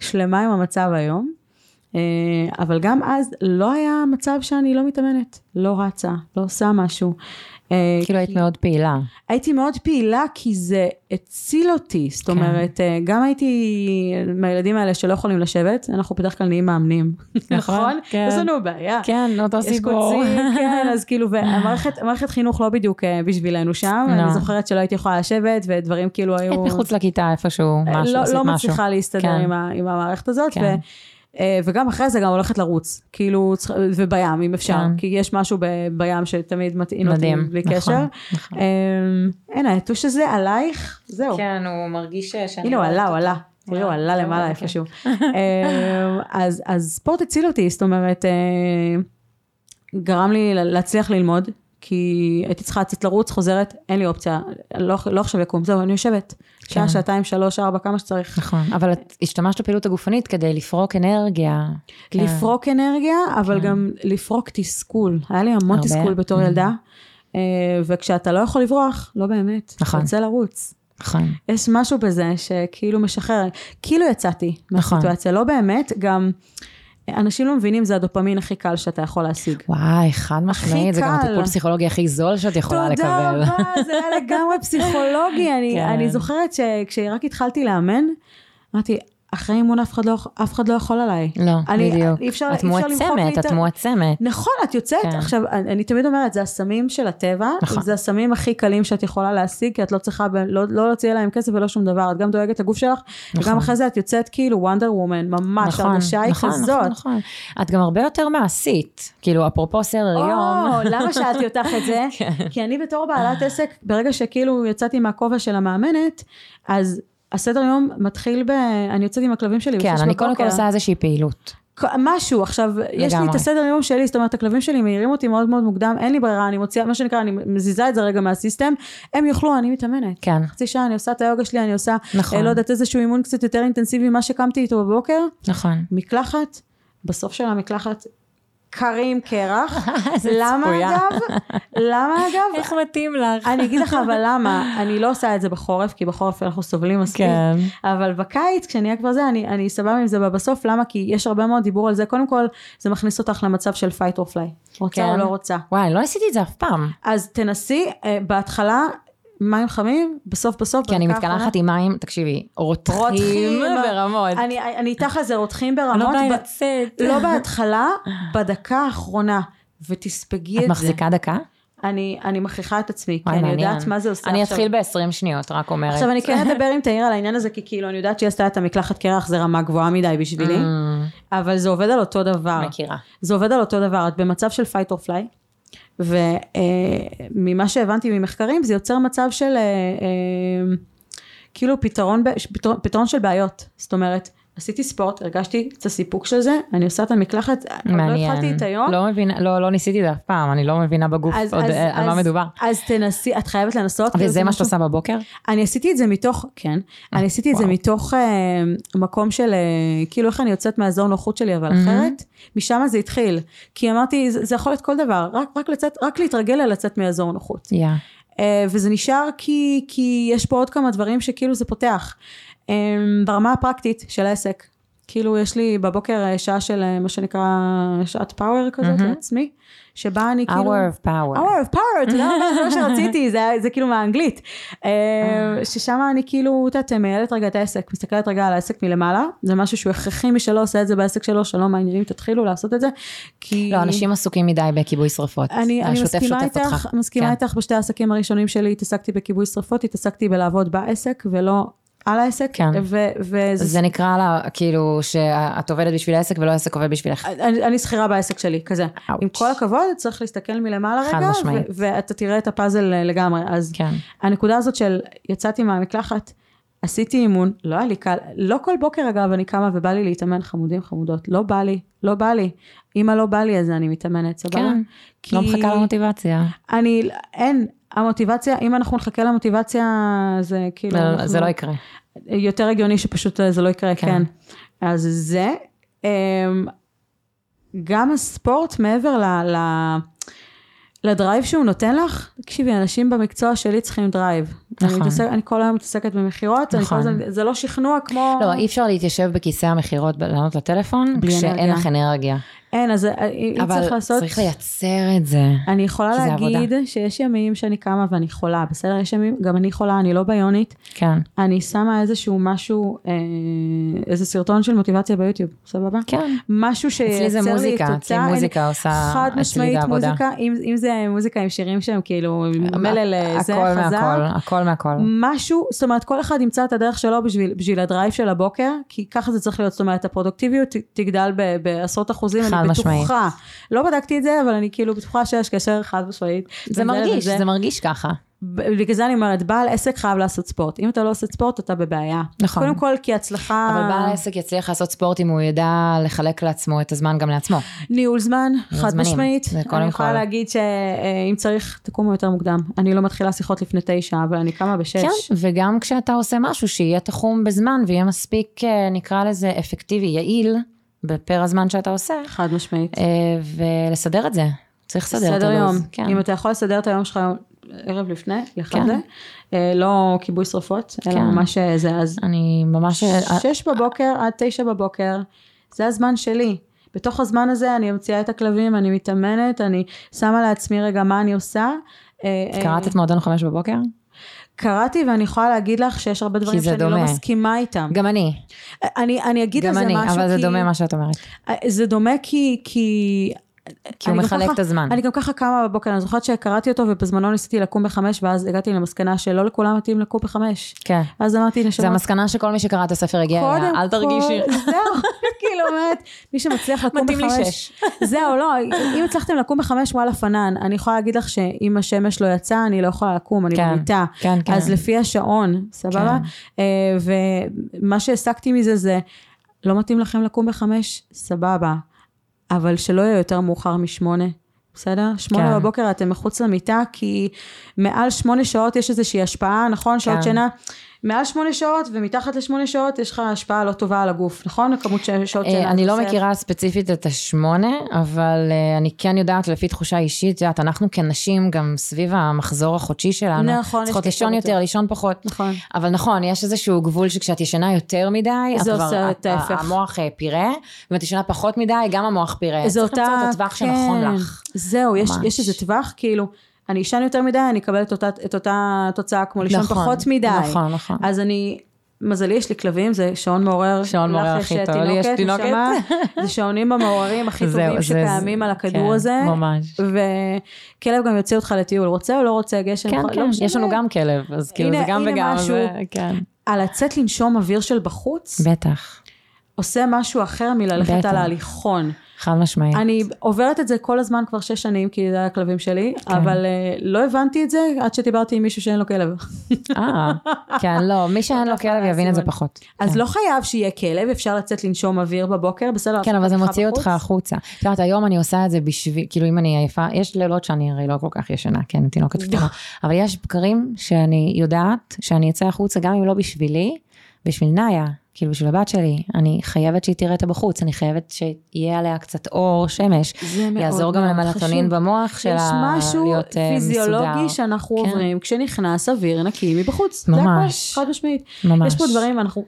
A: שלמה עם המצב היום. אה, אבל גם אז לא היה מצב שאני לא מתאמנת, לא רצה, לא עושה משהו. אה,
B: כאילו היית מאוד פעילה.
A: הייתי מאוד פעילה כי זה הציל אותי, זאת
B: כן.
A: אומרת, אה, גם הייתי מהילדים האלה שלא יכולים לשבת, אנחנו בדרך כלל נהיים
B: <laughs>
A: מאמנים, נכון?
B: כן.
A: יש לנו בעיה.
B: כן, אותו
A: יש
B: <laughs>
A: קוצים, כן, אז כאילו, והמערכת המערכת חינוך לא בדיוק אה, בשבילנו שם,
B: לא.
A: אני זוכרת שלא הייתי יכולה לשבת, ודברים כאילו היו...
B: היית מחוץ לכיתה איפשהו, משהו, עשית
A: לא,
B: משהו.
A: לא מצליחה להסתדר
B: כן.
A: עם, ה, עם המערכת הזאת,
B: כן.
A: ו, אה, וגם אחרי זה גם הולכת לרוץ, כאילו, צריך- ובים אם אפשר,
B: כן.
A: כי יש משהו ב, בים שתמיד מטעין אותי
B: מדהים,
A: בלי
B: נכון,
A: קשר.
B: נכון.
A: אמ, אין, היתוש הזה עלייך, זהו.
B: כן, הוא מרגיש שאני...
A: הנה הוא עלה, הוא עלה.
B: הוא
A: תראי, הוא לא
B: עלה,
A: עלה
B: כן,
A: למעלה
B: כן.
A: איפשהו.
B: <laughs>
A: אמ, אז אז ספורט הציל אותי, זאת אומרת, אה, גרם לי ל- להצליח ללמוד, כי הייתי צריכה לצאת לרוץ, חוזרת, אין לי אופציה, לא לא עכשיו לקום, זהו, אני יושבת. שעה,
B: כן.
A: שעתיים, שלוש, ארבע, כמה שצריך.
B: נכון, אבל את השתמשת בפעילות הגופנית כדי לפרוק אנרגיה. כן.
A: לפרוק אנרגיה, אבל
B: כן.
A: גם לפרוק תסכול. היה לי המון
B: הרבה. Mm.
A: תסכול בתור ילדה, אה, וכשאתה לא יכול לברוח, לא באמת.
B: נכון.
A: תצא לרוץ.
B: נכון,
A: יש משהו בזה שכאילו משחרר, כאילו יצאתי
B: נכון.
A: מהסיטואציה, לא באמת, גם אנשים לא מבינים, זה הדופמין הכי קל שאתה יכול להשיג.
B: וואי, חד משמעית, זה גם
A: קל.
B: הטיפול פסיכולוגי הכי זול שאת יכולה לקבל.
A: תודה רבה, זה היה לגמרי פסיכולוגי. אני,
B: <laughs> כן.
A: אני זוכרת שכשרק התחלתי לאמן, אמרתי, אחרי אימון אף אחד לא, אף אחד לא יכול עליי.
B: <laughs> לא,
A: אני- אי
B: בדיוק.
A: אפשר-
B: את
A: אי אפשר למחוק לי
B: מועצמת,
A: את
B: את
A: ה-
B: מועצמת.
A: נכון, את יוצאת, כן.
B: כן.
A: עכשיו, אני, אני תמיד אומרת, זה הסמים של הטבע,
B: נכון.
A: זה הסמים הכי קלים שאת יכולה להשיג, כי את לא צריכה, ב- לא, לא להוציא עליהם כסף ולא שום דבר, את גם דואגת לגוף שלך, נכון. וגם
B: נכון.
A: אחרי זה את יוצאת כאילו וונדר וומן, ממש,
B: נכון,
A: ההרגשה היא
B: נכון,
A: כזאת.
B: נכון, נכון. את גם הרבה יותר מעשית. כאילו, אפרופו סדר יום. כן.
A: או, למה שאלתי אותך את
B: <laughs>
A: זה? כי אני בתור בעלת עסק, ברגע שכאילו יצאתי מהכובע של המאמנת, אז הסדר יום מתחיל ב... אני יוצאת עם הכלבים שלי
B: כן,
A: בשש
B: אני קודם כל
A: בבוקר.
B: עושה איזושהי פעילות.
A: כ- משהו, עכשיו, יש לי את
B: לגמרי.
A: הסדר יום שלי, זאת אומרת, הכלבים שלי מעירים אותי מאוד מאוד מוקדם, אין לי ברירה, אני מוציאה, מה שנקרא, אני מזיזה את זה רגע מהסיסטם, הם יאכלו, אני מתאמנת.
B: כן,
A: חצי שעה, אני עושה את היוגה שלי, אני עושה,
B: נכון.
A: אה, לא יודעת, איזשהו אימון קצת יותר אינטנסיבי ממה שקמתי איתו בבוקר,
B: נכון.
A: מקלחת, בסוף של המקלחת, קרים קרח.
B: <laughs> איזה
A: למה
B: צפויה.
A: אגב? למה
B: <laughs>
A: אגב?
B: מתאים לך?
A: אני <laughs> אגיד לך אבל למה, אני לא עושה את זה בחורף, כי בחורף אנחנו סובלים מספיק.
B: כן.
A: אבל בקיץ, כשנהיה כבר זה, אני, אני סבבה עם זה בסוף, למה? כי יש הרבה מאוד דיבור על זה. קודם כל, זה מכניס אותך למצב של fight or fly. רוצה או
B: כן.
A: לא רוצה.
B: וואי, אני לא עשיתי את זה אף פעם.
A: אז תנסי, אה, בהתחלה, מים חמים, בסוף בסוף.
B: כי אני
A: בדקה האחרונה-
B: מתקלחת עם מים, תקשיבי, רותחים
A: רותחים.
B: ברמות. לא
A: אני, אני איתך על זה, רותחים ברמות. ב-
B: לצאת.
A: לא בהתחלה, בדקה האחרונה. ותספגי את,
B: את
A: זה.
B: מחזיקה דקה?
A: אני, אני מכריחה את עצמי, כי
B: וואי,
A: אני
B: מעניין.
A: יודעת מה זה עושה
B: אני
A: עכשיו.
B: אתחיל ב-20 שניות, רק אומרת.
A: עכשיו אני כן אדבר עם תאיר על העניין הזה, כי כאילו אני יודעת שהיא עשתה את המקלחת קרח, זה רמה גבוהה מדי בשבילי,
B: Mm,
A: אבל זה עובד על אותו דבר.
B: מכירה.
A: זה עובד על אותו דבר, את במצב של fight or fly, וממה שהבנתי ממחקרים זה יוצר מצב של אה, אה, כאילו פתרון, ב- פתרון, פתרון של בעיות, זאת אומרת עשיתי ספורט, הרגשתי את הסיפוק של זה, אני עושה את המקלחת, עוד לא
B: מעניין.
A: התחלתי את היום.
B: לא מבינה, לא, לא ניסיתי את זה אף פעם, אני לא מבינה בגוף
A: אז-
B: עוד
A: אז-
B: אה, על מה
A: אז-
B: מדובר.
A: אז תנסי, את חייבת לנסות. כאילו,
B: וזה
A: זה
B: מה שאת
A: משהו-
B: עושה בבוקר?
A: אני עשיתי את זה מתוך, כן, אני עשיתי את זה
B: אה, וואו.
A: מתוך אה, מקום של, אה, כאילו איך אני יוצאת מהאזור נוחות שלי, אבל
B: מהמם.
A: אחרת, משם זה התחיל. כי אמרתי, זה, זה יכול להיות כל דבר, רק, רק לצאת, רק להתרגל ללצאת מאזור נוחות.
B: יא.
A: אה, וזה נשאר כי, כי יש פה עוד כמה דברים שכאילו זה פותח. אה, ברמה הפרקטית של העסק, כאילו יש לי בבוקר אה, שעה של אה, מה שנקרא שעת פאוור כזאת
B: מהמם.
A: לעצמי, שבה אני כאילו...
B: hour of power.
A: hour of power,
B: <laughs>
A: אתה יודע מה, זה מה שרציתי, זה, זה כאילו מהאנגלית. אה, ששם אני כאילו, את יודעת, מנהלת רגע את העסק, מסתכלת רגע על העסק מלמעלה, זה משהו שהוא הכרחי, מי שלא עושה את זה בעסק שלו, שלום העניינים, תתחילו לעשות את זה, כי...
B: לא, אנשים עסוקים מדי בכיבוי שרפות.
A: אני, אני
B: השוטף
A: מסכימה
B: שוטף
A: איתך,
B: אותך.
A: מסכימה
B: כן.
A: איתך בשתי העסקים הראשונים שלי, התעסקתי בכיבוי שרפות, התעסקתי בלעבוד בעסק ולא על העסק,
B: כן.
A: ו, וזה
B: זה נקרא לה, כאילו, שאת עובדת בשביל העסק ולא העסק עובד בשבילך.
A: אני, אני שכירה בעסק שלי, כזה.
B: Ouch.
A: עם כל הכבוד, צריך להסתכל מלמעלה
B: אוקיי. חד
A: רגע,
B: משמעית.
A: ו- ואתה תראה את הפאזל אה, לגמרי. אז
B: כן.
A: הנקודה הזאת של יצאתי מהמקלחת, עשיתי אימון, לא היה לי קל, לא כל בוקר אגב אני קמה ובא לי להתאמן חמודים חמודות, לא בא לי, לא בא לי. אם לא בא לי אז אני מתאמנת, סבבה?
B: כן.
A: כי-
B: לא מחכה למוטיבציה.
A: אני, אין, המוטיבציה, אם אנחנו נחכה למוטיבציה, זה כאילו...
B: לא,
A: אנחנו-
B: זה לא יקרה.
A: יותר הגיוני שפשוט אה, זה לא יקרה,
B: כן.
A: כן. כן. אז זה, אמ, גם הספורט מעבר ל... ל לדרייב שהוא נותן לך, תקשיבי, אנשים במקצוע שלי צריכים דרייב.
B: נכון.
A: אני, מתעסק, אני כל היום מתעסקת במכירות, אני כל
B: נכון.
A: הזמן- זה לא שכנוע כמו...
B: לא, אי אפשר להתיישב בכיסא המכירות, ב- לענות לטלפון,
A: בלי
B: כשאין
A: אנרגיה.
B: לך אנרגיה.
A: אין, אז אה, אם
B: אבל
A: צריך לעשות...
B: צריך לייצר את זה.
A: אני יכולה
B: כי זה
A: להגיד שיש ימים שאני קמה ואני חולה, בסדר? יש ימים, גם אני חולה, אני לא ביונית.
B: כן.
A: אני שמה איזשהו משהו, אה, איזה סרטון של מוטיבציה ביוטיוב, סבבה?
B: כן.
A: משהו שייצר לי
B: אצלי
A: את
B: זה
A: התוצאה.
B: מוזיקה, אצלי
A: אני-
B: מוזיקה עושה
A: חד
B: אצלי
A: משמעית
B: את העבודה.
A: מוזיקה, אם, אם זה מוזיקה עם שירים שהם כאילו מלל אה, זה
B: הכל
A: חזק.
B: מהכל, הכל מהכל.
A: משהו, זאת אומרת כל אחד ימצא את הדרך שלו בשביל, בשביל הדרייב של הבוקר, כי ככה זה צריך להיות, זאת אומרת הפרודוקטיביות ת- תגדל ב, בעשרות אחוזים,
B: חד
A: אני
B: משמעית.
A: בטוחה, לא בדקתי את זה, אבל אני כאילו בטוחה שיש קשר חד משמעית.
B: זה
A: בין
B: מרגיש,
A: לזה.
B: זה מרגיש ככה.
A: ב- בגלל זה אני אומרת, בעל עסק חייב לעשות ספורט, אם אתה לא עושה ספורט אתה בבעיה.
B: נכון.
A: קודם כל כי הצלחה...
B: אבל בעל העסק יצליח לעשות ספורט אם הוא ידע לחלק לעצמו את הזמן גם לעצמו.
A: ניהול זמן,
B: ניהול
A: חד
B: זמנים,
A: משמעית.
B: זה קודם
A: אני יכולה
B: כל.
A: להגיד שאם צריך, תקומו יותר מוקדם. אני לא מתחילה שיחות לפני תשע, אבל אני קמה בשש.
B: כן, וגם כשאתה עושה משהו שיהיה תחום בזמן ויהיה מספיק, אה, נקרא לזה, אפקטיבי, יעיל, בפר הזמן שאתה עושה,
A: חד משמעית.
B: אה, ולסדר את זה. צריך לסדר את
A: סדר יום.
B: הלו"ז. כן.
A: אם אתה יכול לסדר את היום שלך יום- ערב לפני, לך
B: כן.
A: על זה. אה, לא כיבוי שרפות, אלא
B: כן. אה,
A: ממש אה, זה. אז
B: אני ממש...
A: שש בבוקר עד תשע בבוקר, זה הזמן שלי. בתוך הזמן הזה אני ממציאה את הכלבים, אני מתאמנת, אני שמה לעצמי רגע מה אני עושה. אה, אה,
B: קראת את מועדון חמש בבוקר?
A: קראתי ואני יכולה להגיד לך שיש הרבה דברים
B: זה
A: שאני לא
B: דומה.
A: מסכימה איתם.
B: גם אני.
A: אני, אני אגיד על
B: גם
A: זה
B: אני,
A: משהו,
B: אבל זה
A: כי... אה,
B: דומה מה שאת אומרת.
A: זה דומה כי... כי...
B: כי הוא
A: אני גם
B: מחלק
A: ככה-
B: את הזמן.
A: אני גם ככה קמה בבוקר, אני זוכרת שקראתי אותו ובזמנו ניסיתי לקום בחמש ואז הגעתי למסקנה שלא לכולם מתאים לקום בחמש.
B: כן.
A: אז אמרתי, נשמה,
B: זה המסקנה שכל מי שקרא את הספר הגיע אליה, אל תרגישי.
A: <laughs> זהו, כאילו אומרת, מי שמצליח לקום
B: מתאים לי
A: בחמש,
B: שש.
A: <laughs> זהו, לא, אם הצלחתם לקום בחמש, וואלה פנן, אני יכולה להגיד לך שאם השמש לא יצאה, אני לא יכולה לקום, אני
B: כן,
A: במיטה.
B: כן, כן.
A: אז לפי השעון, סבבה? אה, ומה שהסקתי מזה זה, לא מתאים לכם לקום בחמש, סבבה, אבל שלא יהיה יותר מאוחר משמונה. בסדר? שמונה
B: כן.
A: בבוקר אתם מחוץ למיטה, כי מעל שמונה שעות יש איזושהי השפעה, נכון? שעות
B: כן.
A: שינה. מעל שמונה שעות ומתחת לשמונה שעות יש לך השפעה לא טובה על הגוף, נכון? הכמות ש- שעות
B: אה,
A: שינה.
B: אני לא
A: בסדר.
B: מכירה ספציפית את השמונה, אבל אה, אני כן יודעת לפי תחושה אישית, את יודעת, אנחנו כנשים גם סביב המחזור החודשי שלנו,
A: נכון, יש
B: צריכות לישון
A: יותר.
B: יותר, לישון פחות.
A: נכון.
B: אבל נכון, יש איזשהו גבול שכשאת ישנה יותר מדי, את
A: זה
B: כבר-
A: עושה את
B: את-
A: ההפך.
B: המוח אה, פירה, ואם את ישנה פחות מדי, גם המוח פירה.
A: זה
B: צריך למצוא
A: אותה...
B: את הטווח שנכון
A: כן.
B: לך.
A: זהו, יש,
B: ממש.
A: יש איזה טווח, כאילו, אני אישן יותר מדי, אני אקבל את אותה, את אותה תוצאה כמו לישון
B: נכון,
A: פחות מדי.
B: נכון, נכון.
A: אז אני... מזלי יש לי כלבים, זה שעון מעורר.
B: שעון
A: לך
B: מעורר
A: יש
B: הכי טוב, לי יש תינוקת.
A: נשמה. זה שעונים במעוררים הכי
B: <laughs> זהו,
A: טובים
B: זה-
A: שקיימים
B: זה-
A: על הכדור
B: כן,
A: הזה.
B: ממש.
A: וכלב גם יוציא אותך לטיול, רוצה או לא רוצה גשם?
B: כן,
A: לא
B: כן,
A: משנה.
B: יש לנו גם כלב, אז כאילו
A: הנה-
B: זה גם
A: הנה
B: וגם,
A: משהו.
B: זה- כן.
A: על אה, לצאת לנשום אוויר של בחוץ,
B: בטח.
A: עושה משהו אחר מללכת
B: בטח.
A: על ההליכון.
B: חד משמעית.
A: אני עוברת את זה כל הזמן כבר שש שנים, כי זה הכלבים שלי,
B: כן.
A: אבל אה, לא הבנתי את זה עד שדיברתי עם מישהו שאין לו כלב.
B: אה, כן, לא, מי שאין לו כלב יבין את זה
A: הסימן.
B: פחות.
A: אז
B: כן.
A: לא חייב שיהיה כלב, אפשר לצאת לנשום אוויר בבוקר, בסדר?
B: כן, אבל זה
A: לעשות
B: מוציא
A: הליכה
B: אותך
A: בחוץ.
B: החוצה. את יודעת, היום אני עושה את זה בשביל, כאילו אם אני עייפה, יש לילות שאני הרי לא כל כך ישנה, כן, תינוקת
A: לא.
B: קטנה, אבל יש בקרים שאני יודעת שאני אצא החוצה, גם אם לא בשבילי, בשביל נאיה, כאילו בשביל הבת שלי, אני חייבת שהיא תראה את הבחוץ, אני חייבת שיהיה עליה קצת אור, שמש.
A: זה מאוד
B: יעזור גם
A: מאוד
B: למלטונין
A: חשוב.
B: במוח שלה
A: יש משהו
B: להיות אה,
A: פיזיולוגי
B: מסודר.
A: שאנחנו
B: כן.
A: עוברים כשנכנס אוויר נקי מבחוץ.
B: ממש.
A: זה הכל, חד משמעית.
B: ממש.
A: יש פה דברים, אנחנו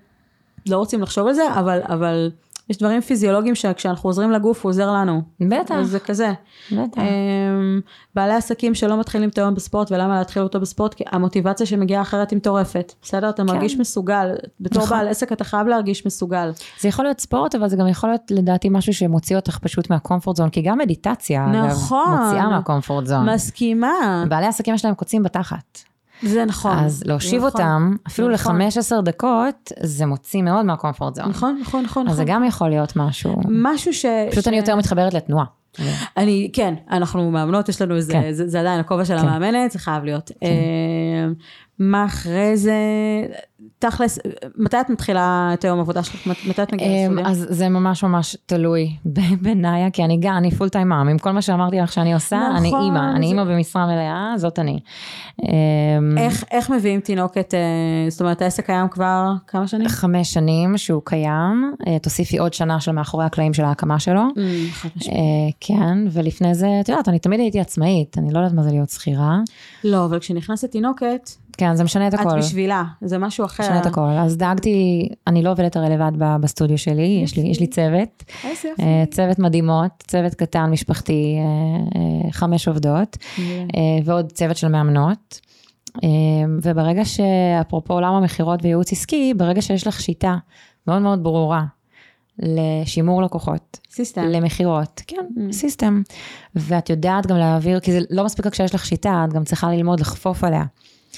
A: לא רוצים לחשוב על זה, אבל, אבל יש דברים פיזיולוגיים שכשאנחנו עוזרים לגוף, הוא עוזר לנו.
B: בטח, כן.
A: אז זה כזה.
B: בטח.
A: אמ, בעלי עסקים שלא מתחילים את היום בספורט, ולמה להתחיל אותו בספורט? כי המוטיבציה שמגיעה אחרת היא מטורפת. בסדר? אתה מרגיש מסוגל. בתור
B: כן. נכון.
A: בעל עסק אתה חייב להרגיש מסוגל.
B: זה יכול להיות ספורט, אבל זה גם יכול להיות לדעתי משהו שמוציא אותך פשוט מהקומפורט זון, כי גם מדיטציה, אגב,
A: נכון.
B: מוציאה מהקומפורט זון.
A: מסכימה.
B: בעלי העסקים שלהם קוצים בתחת.
A: זה נכון.
B: אז להושיב
A: נכון.
B: אותם, אפילו
A: נכון.
B: ל-15 דקות, זה מוציא מאוד מהקומפורט זון.
A: נכון, נכון, נכון.
B: אז זה
A: נכון.
B: גם יכול להיות משהו.
A: משהו ש...
B: פשוט
A: ש-
B: אני יותר מתחברת לתנועה.
A: אני, כן, אנחנו מאמנות, יש לנו איזה,
B: כן.
A: כן. זה, זה עדיין הכובע של
B: כן.
A: כן. המאמנת, זה חייב להיות. כן. מה אחרי זה, תכלס, מתי את מתחילה את היום העבודה שלך? מת- מתי את מגיעה
B: אמ,
A: לסטודיו?
B: אז זה ממש ממש תלוי ב- בנאיה, כי אני גם, אני פול טיים מאם. עם כל מה שאמרתי לך שאני עושה, אני
A: נכון,
B: אימא. אני
A: זה-
B: אימא במשרה מלאה, זאת אני. אמ,
A: איך, איך מביאים תינוקת, אה, זאת אומרת, העסק קיים כבר כמה שנים?
B: חמש שנים שהוא קיים, אה, תוסיפי עוד שנה של מאחורי הקלעים של ההקמה שלו.
A: אמ, חד משמעית.
B: אה, כן, ולפני זה, את יודעת, אני תמיד הייתי עצמאית, אני לא יודעת מה זה להיות שכירה.
A: לא, אבל כשנכנסת תינוקת,
B: כן, זה משנה את
A: את
B: הכל.
A: בשבילה, זה משהו אחר.
B: משנה את הכל. אז דאגתי, אני לא עובדת הרי לבד ב- בסטודיו שלי, יש לי, יש לי צוות,
A: איזה יופי.
B: אה, צוות מדהימות, צוות קטן, משפחתי, אה, אה, חמש עובדות,
A: מעולה.
B: אה, ועוד צוות של מאמנות. אה, וברגע שאפרופו עולם המכירות וייעוץ עסקי, ברגע שיש לך שיטה מאוד מאוד ברורה לשימור לקוחות,
A: סיסטם.
B: למכירות, כן,
A: Mm.
B: סיסטם. ואת יודעת גם להעביר, כי זה לא מספיק רק שיש לך שיטה, את גם צריכה ללמוד לחפוף עליה.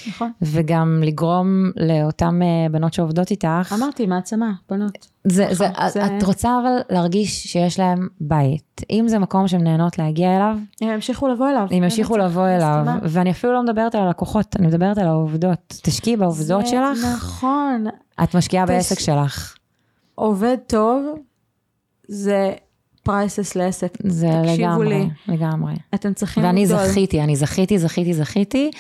A: נכון.
B: וגם לגרום לאותן אה, בנות שעובדות איתך.
A: אמרתי, מעצמה, בנות.
B: זה, זה,
A: נכון, זה-
B: את רוצה אבל להרגיש שיש להם בית. אם זה מקום שהן נהנות להגיע אליו,
A: הם ימשיכו לבוא אליו.
B: הם ימשיכו לבוא אליו.
A: מסכימה.
B: ואני אפילו לא מדברת על הלקוחות, אני מדברת על העובדות. תשקיעי בעובדות
A: זה
B: שלך,
A: נכון.
B: את משקיעה
A: תש-
B: בעסק שלך.
A: עובד טוב זה פרייסס לעסק.
B: זה
A: תקשיבו
B: לגמרי,
A: לי.
B: לגמרי.
A: אתם צריכים
B: ואני
A: לגדול.
B: זכיתי, אני זכיתי, זכיתי, זכיתי,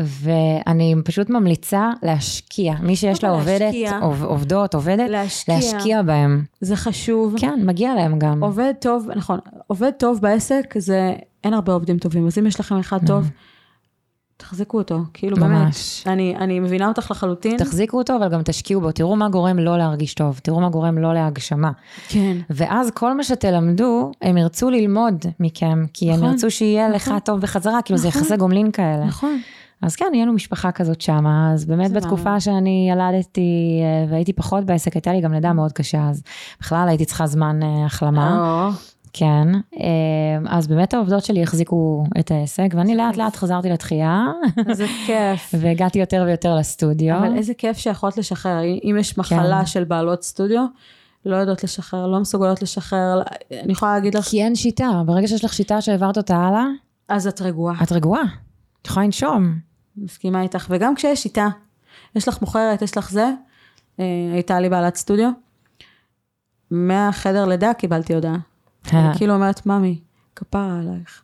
B: ואני פשוט ממליצה להשקיע. מי שיש לה
A: קודם כל
B: עובדת,
A: לא להשקיע.
B: עוב- עובדות, עובדת,
A: להשקיע.
B: להשקיע בהם.
A: זה חשוב.
B: כן, מגיע להם גם.
A: עובד טוב, נכון, עובד טוב בעסק זה, אין הרבה עובדים טובים, אז אם יש לכם אחד טוב, תחזקו אותו, כאילו באמת.
B: Mm. ממש.
A: אני, אני מבינה אותך לחלוטין.
B: תחזיקו אותו, אבל גם תשקיעו בו. תראו מה גורם לא להרגיש טוב, תראו מה גורם לא להגשמה.
A: כן.
B: ואז כל מה שתלמדו, הם ירצו ללמוד מכם, כי הם
A: נכון,
B: ירצו שיהיה לך
A: נכון.
B: טוב בחזרה, כאילו זה
A: נכון.
B: יחסי גומלין כאלה.
A: נכון.
B: אז כן, נהיינו משפחה כזאת שמה, אז באמת
A: זה מהמם.
B: בתקופה שאני ילדתי אה, והייתי פחות בעסק, הייתה לי גם לידה מאוד קשה, אז בכלל הייתי צריכה זמן אה, החלמה,
A: או,
B: כן. אה, אז באמת העובדות שלי החזיקו את העסק, ואני לאט לאט חזרתי לתחייה, <laughs>
A: איזה כיף.
B: והגעתי יותר ויותר לסטודיו.
A: אבל איזה כיף שיכולת לשחרר, אם יש
B: לא? כן.
A: מחלה של בעלות סטודיו, לא יודעות לשחרר, לא מסוגלות לשחרר, אני יכולה להגיד לך,
B: כי אין שיטה, ברגע שיש לך שיטה שהעברת אותה הלאה,
A: אז את רגועה.
B: את רגועה. את יכולה לנשום.
A: מסכימה איתך, וגם כשיש שיטה, יש לך מוכרת, יש לך זה, אה, הייתה לי בעלת סטודיו, מהחדר לידה קיבלתי הודעה.
B: אה.
A: אני כאילו אומרת, ממי, כפרה עלייך.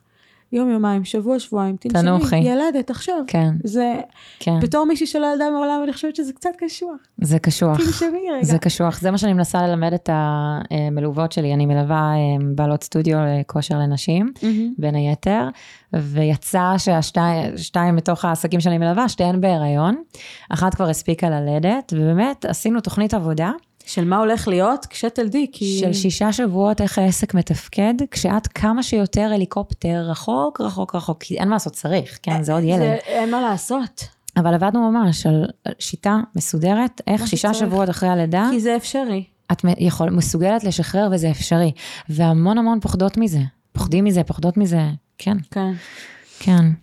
A: יום, יומיים, שבוע, שבועיים,
B: תנוחי.
A: תנשמי, ילדת עכשיו.
B: <laughs> כן,
A: זה,
B: כן.
A: בתור מישהי שלא ילדה מעולם, אני חושבת שזה קצת קשוח.
B: זה קשוח.
A: תנשמי רגע.
B: זה קשוח. זה מה שאני מנסה ללמד את המלוות שלי. אני מלווה אה, בעלות סטודיו לכושר לנשים,
A: מהמם.
B: בין היתר, ויצא שהשתיים שתיים מתוך העסקים שאני מלווה, שתיהן בהיריון. אחת כבר הספיקה ללדת, ובאמת עשינו תוכנית עבודה
A: של מה הולך להיות כשתלדי, כי...
B: של שישה שבועות איך העסק מתפקד, כשאת כמה שיותר הליקופטר רחוק, רחוק, רחוק, כי אין מה לעשות, צריך, כן, זה עוד ילד.
A: אה, זה, אין מה לעשות,
B: אבל עבדנו ממש על על שיטה מסודרת, איך
A: מה
B: שישה
A: שצריך.
B: שבועות אחרי הלידה,
A: כי זה אפשרי.
B: את מ- יכול, מסוגלת לשחרר וזה אפשרי. והמון המון פוחדות מזה. פוחדים מזה, פוחדות מזה. כן,
A: כן.
B: כן.
A: אמ,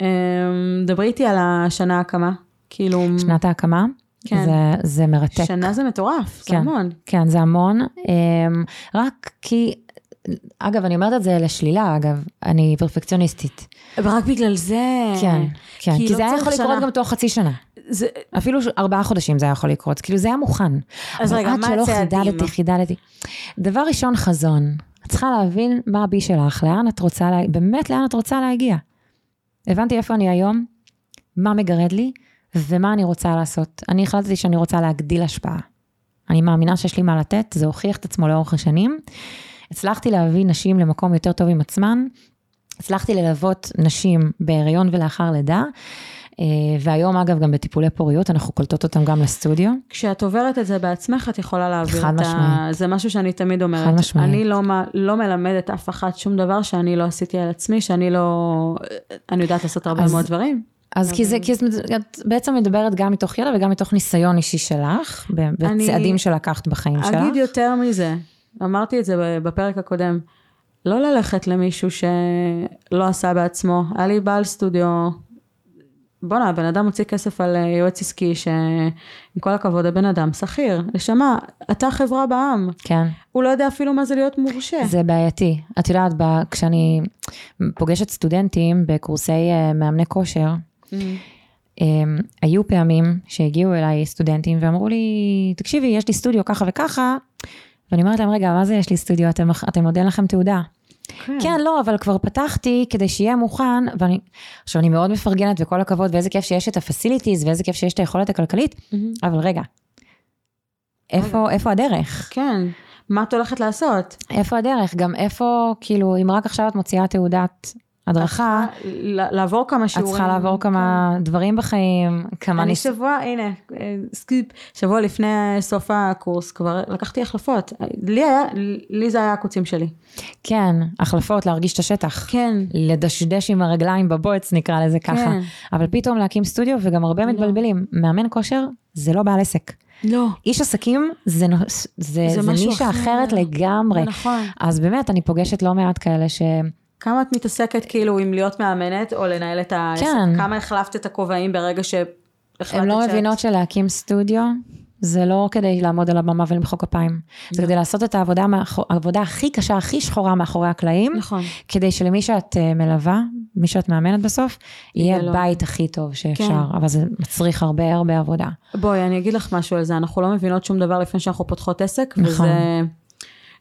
A: דברי איתי על השנה הקמה, כאילו...
B: שנת ההקמה,
A: כן.
B: זה, זה מרתק.
A: שנה זה מטורף, זה
B: כן.
A: המון.
B: כן, זה המון. אמ, רק כי אגב, אני אומרת את זה לשלילה, אגב, אני פרפקציוניסטית.
A: ורק בגלל זה...
B: כן, כן,
A: כי
B: כי
A: לא
B: זה היה
A: צריך
B: יכול לקרות
A: שנה.
B: גם תוך חצי שנה.
A: זה,
B: אפילו ש- ארבעה חודשים זה היה יכול לקרות, כאילו זה היה מוכן.
A: אז
B: אבל
A: רגע, מה
B: עד
A: הצעדים?
B: שלא חידדתי, חידדתי. דבר ראשון, חזון. את צריכה להבין מה הבי שלך, לאן את רוצה, לה... באמת לאן את רוצה להגיע. הבנתי איפה אני היום, מה מגרד לי, ומה אני רוצה לעשות. אני החלטתי שאני רוצה להגדיל השפעה. אני מאמינה שיש לי מה לתת, זה הוכיח את עצמו לאורך השנים. הצלחתי להביא נשים למקום יותר טוב עם עצמן, הצלחתי ללוות נשים בהיריון ולאחר לידה, אה, והיום אגב גם בטיפולי פוריות, אנחנו קולטות אותם גם לסטודיו.
A: כשאת עוברת את זה בעצמך, את יכולה להעביר
B: חד
A: את ה...
B: משמעית.
A: זה משהו שאני תמיד אומרת.
B: חד משמעית.
A: אני לא, מ- לא מלמדת אף אחת שום דבר שאני לא עשיתי על עצמי, שאני לא... אני יודעת לעשות הרבה
B: אז-
A: מאוד דברים.
B: אז כי זה, כי זה- את בעצם מדברת גם מתוך ידע וגם מתוך ניסיון אישי שלך, ב-
A: אני-
B: בצעדים שלקחת בחיים שלך.
A: אגיד יותר מזה, אמרתי את זה בפרק הקודם, לא ללכת למישהו שלא עשה בעצמו. היה לי בעל סטודיו, בואנה, הבן אדם הוציא כסף על אה, יועץ עסקי, שעם כל הכבוד, הבן אדם שכיר. נשמה, אתה חברה בעם.
B: כן,
A: הוא לא יודע אפילו מה זה להיות מורשה.
B: זה בעייתי. את יודעת, ב- כשאני פוגשת סטודנטים בקורסי אה, מאמני כושר,
A: Mm-hmm.
B: אמ, היו פעמים שהגיעו אליי סטודנטים ואמרו לי, תקשיבי, יש לי סטודיו ככה וככה, ואני אומרת להם, רגע, מה זה יש לי סטודיו? אתם, אתם עוד אין לכם תעודה. כן, לא, אבל כבר פתחתי כדי שיהיה מוכן, ואני, עכשיו אני מאוד מפרגנת וכל הכבוד, ואיזה כיף שיש את ה-facilities, ואיזה כיף שיש את היכולת הכלכלית,
A: מהמם.
B: אבל רגע, איפה,
A: אוקיי.
B: איפה הדרך?
A: כן, מה את הולכת לעשות?
B: איפה הדרך? גם איפה, כאילו, אם רק עכשיו את מוציאה תעודת הדרכה,
A: ל- לעבור כמה
B: אה, את
A: שיעורים. כן.
B: צריכה לעבור כמה דברים בחיים, כמה
A: אני
B: ניס...
A: שבוע, הנה, אה, סקיפ, שבוע לפני סוף הקורס כבר לקחתי החלפות. לי היה, לי זה היה הקוצים שלי.
B: כן, החלפות, להרגיש את השטח.
A: כן.
B: לדשדש עם הרגליים בבוץ, נקרא לזה ככה.
A: כן.
B: אבל פתאום להקים סטודיו, וגם הרבה מתבלבלים. מאמן כושר זה לא בעל עסק.
A: לא.
B: איש עסקים זה, נו- זה,
A: זה
B: זה, זה
A: משהו
B: נישה
A: אחר.
B: אחרת לגמרי.
A: נכון.
B: אז באמת, אני פוגשת לא מעט כאלה ש...
A: כמה את מתעסקת כאילו עם להיות מאמנת או לנהל את העסק?
B: כן.
A: כמה החלפת את הכובעים ברגע שהחלטת
B: הן לא
A: שאת-
B: מבינות שלהקים סטודיו, זה לא כדי לעמוד על הבמה ולמחוא כפיים. זה
A: לא.
B: כדי לעשות את העבודה, מאחור- העבודה הכי קשה, הכי שחורה מאחורי הקלעים,
A: נכון.
B: כדי שלמי שאת אה, מלווה, מי שאת מאמנת בסוף, יהיה
A: יהיה לו. כן.
B: הבית הכי טוב שאפשר. אבל זה מצריך הרבה הרבה עבודה.
A: בואי, אני אגיד לך משהו על זה, אנחנו לא מבינות שום דבר לפני שאנחנו פותחות עסק,
B: נכון.
A: וזה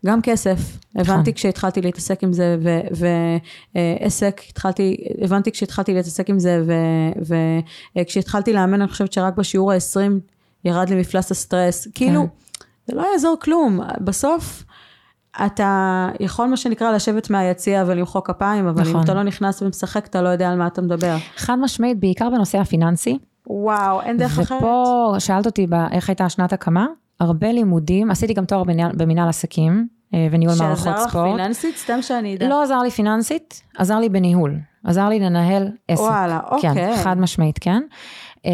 A: גם כסף. הבנתי
B: נכון.
A: כשהתחלתי להתעסק עם זה, ועסק, התחלתי, הבנתי כשהתחלתי להתעסק עם זה, וכשהתחלתי לאמן, אני חושבת שרק בשיעור ה-20 ירד לי מפלס
B: כן.
A: הסטרס. כאילו, זה לא יעזור כלום. בסוף... אתה יכול מה שנקרא לשבת מהיציע ולמחוא כפיים, אבל אם
B: נכון.
A: אתה לא נכנס ומשחק, אתה לא יודע על מה אתה מדבר.
B: חד משמעית, בעיקר בנושא הפיננסי.
A: וואו, אין דרך אחרת.
B: ופה שאלת אותי ב- איך הייתה שנת הקמה, הרבה לימודים, עשיתי גם תואר במנהל- במנהל עסקים אה, וניהול מערכות
A: שעזר לך
B: ספורט.
A: פיננסית? סתם שאני אדע.
B: לא עזר לי פיננסית, עזר לי בניהול, עזר לי לנהל עסק.
A: וואלה, אוקיי.
B: כן, חד משמעית, כן. אמ,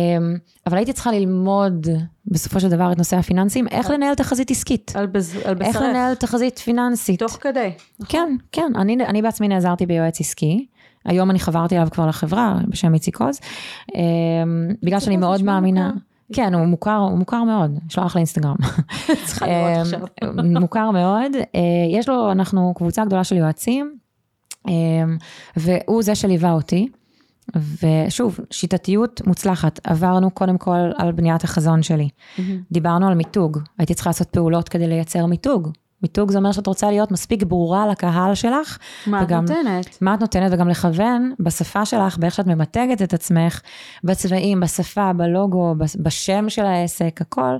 B: אבל הייתי צריכה ללמוד בסופו של דבר את נושא הפיננסים, איך לנהל תחזית עסקית,
A: על בז- על
B: איך
A: בשרך.
B: לנהל תחזית פיננסית.
A: תוך כדי. <laughs> נכון.
B: כן, כן, אני, אני בעצמי נעזרתי ביועץ עסקי. היום אני חברתי אליו כבר לחברה בשם איציק עוז. אמ, בגלל שאני
A: עוז
B: מאוד
A: נשמע
B: מאמינה.
A: מוכר.
B: כן, הוא מוכר, הוא מוכר מאוד, שלח
A: <laughs>
B: אחלה אינסטגרם.
A: צריכה לראות
B: אמ,
A: עכשיו.
B: <laughs> מוכר מאוד. אה, יש לו, אנחנו קבוצה גדולה של יועצים, אמ, והוא זה שליווה אותי. ושוב, שיטתיות מוצלחת. עברנו קודם כל על בניית החזון שלי. דיברנו על מיתוג, הייתי צריכה לעשות פעולות כדי לייצר מיתוג. מיתוג זה אומר שאת רוצה להיות מספיק ברורה לקהל שלך,
A: מה את
B: וגם-
A: נותנת?
B: מה את נותנת וגם לכוון בשפה שלך, באיך שאת ממתגת את עצמך, בצבעים, בשפה, בלוגו, בס- בשם של העסק, הכל,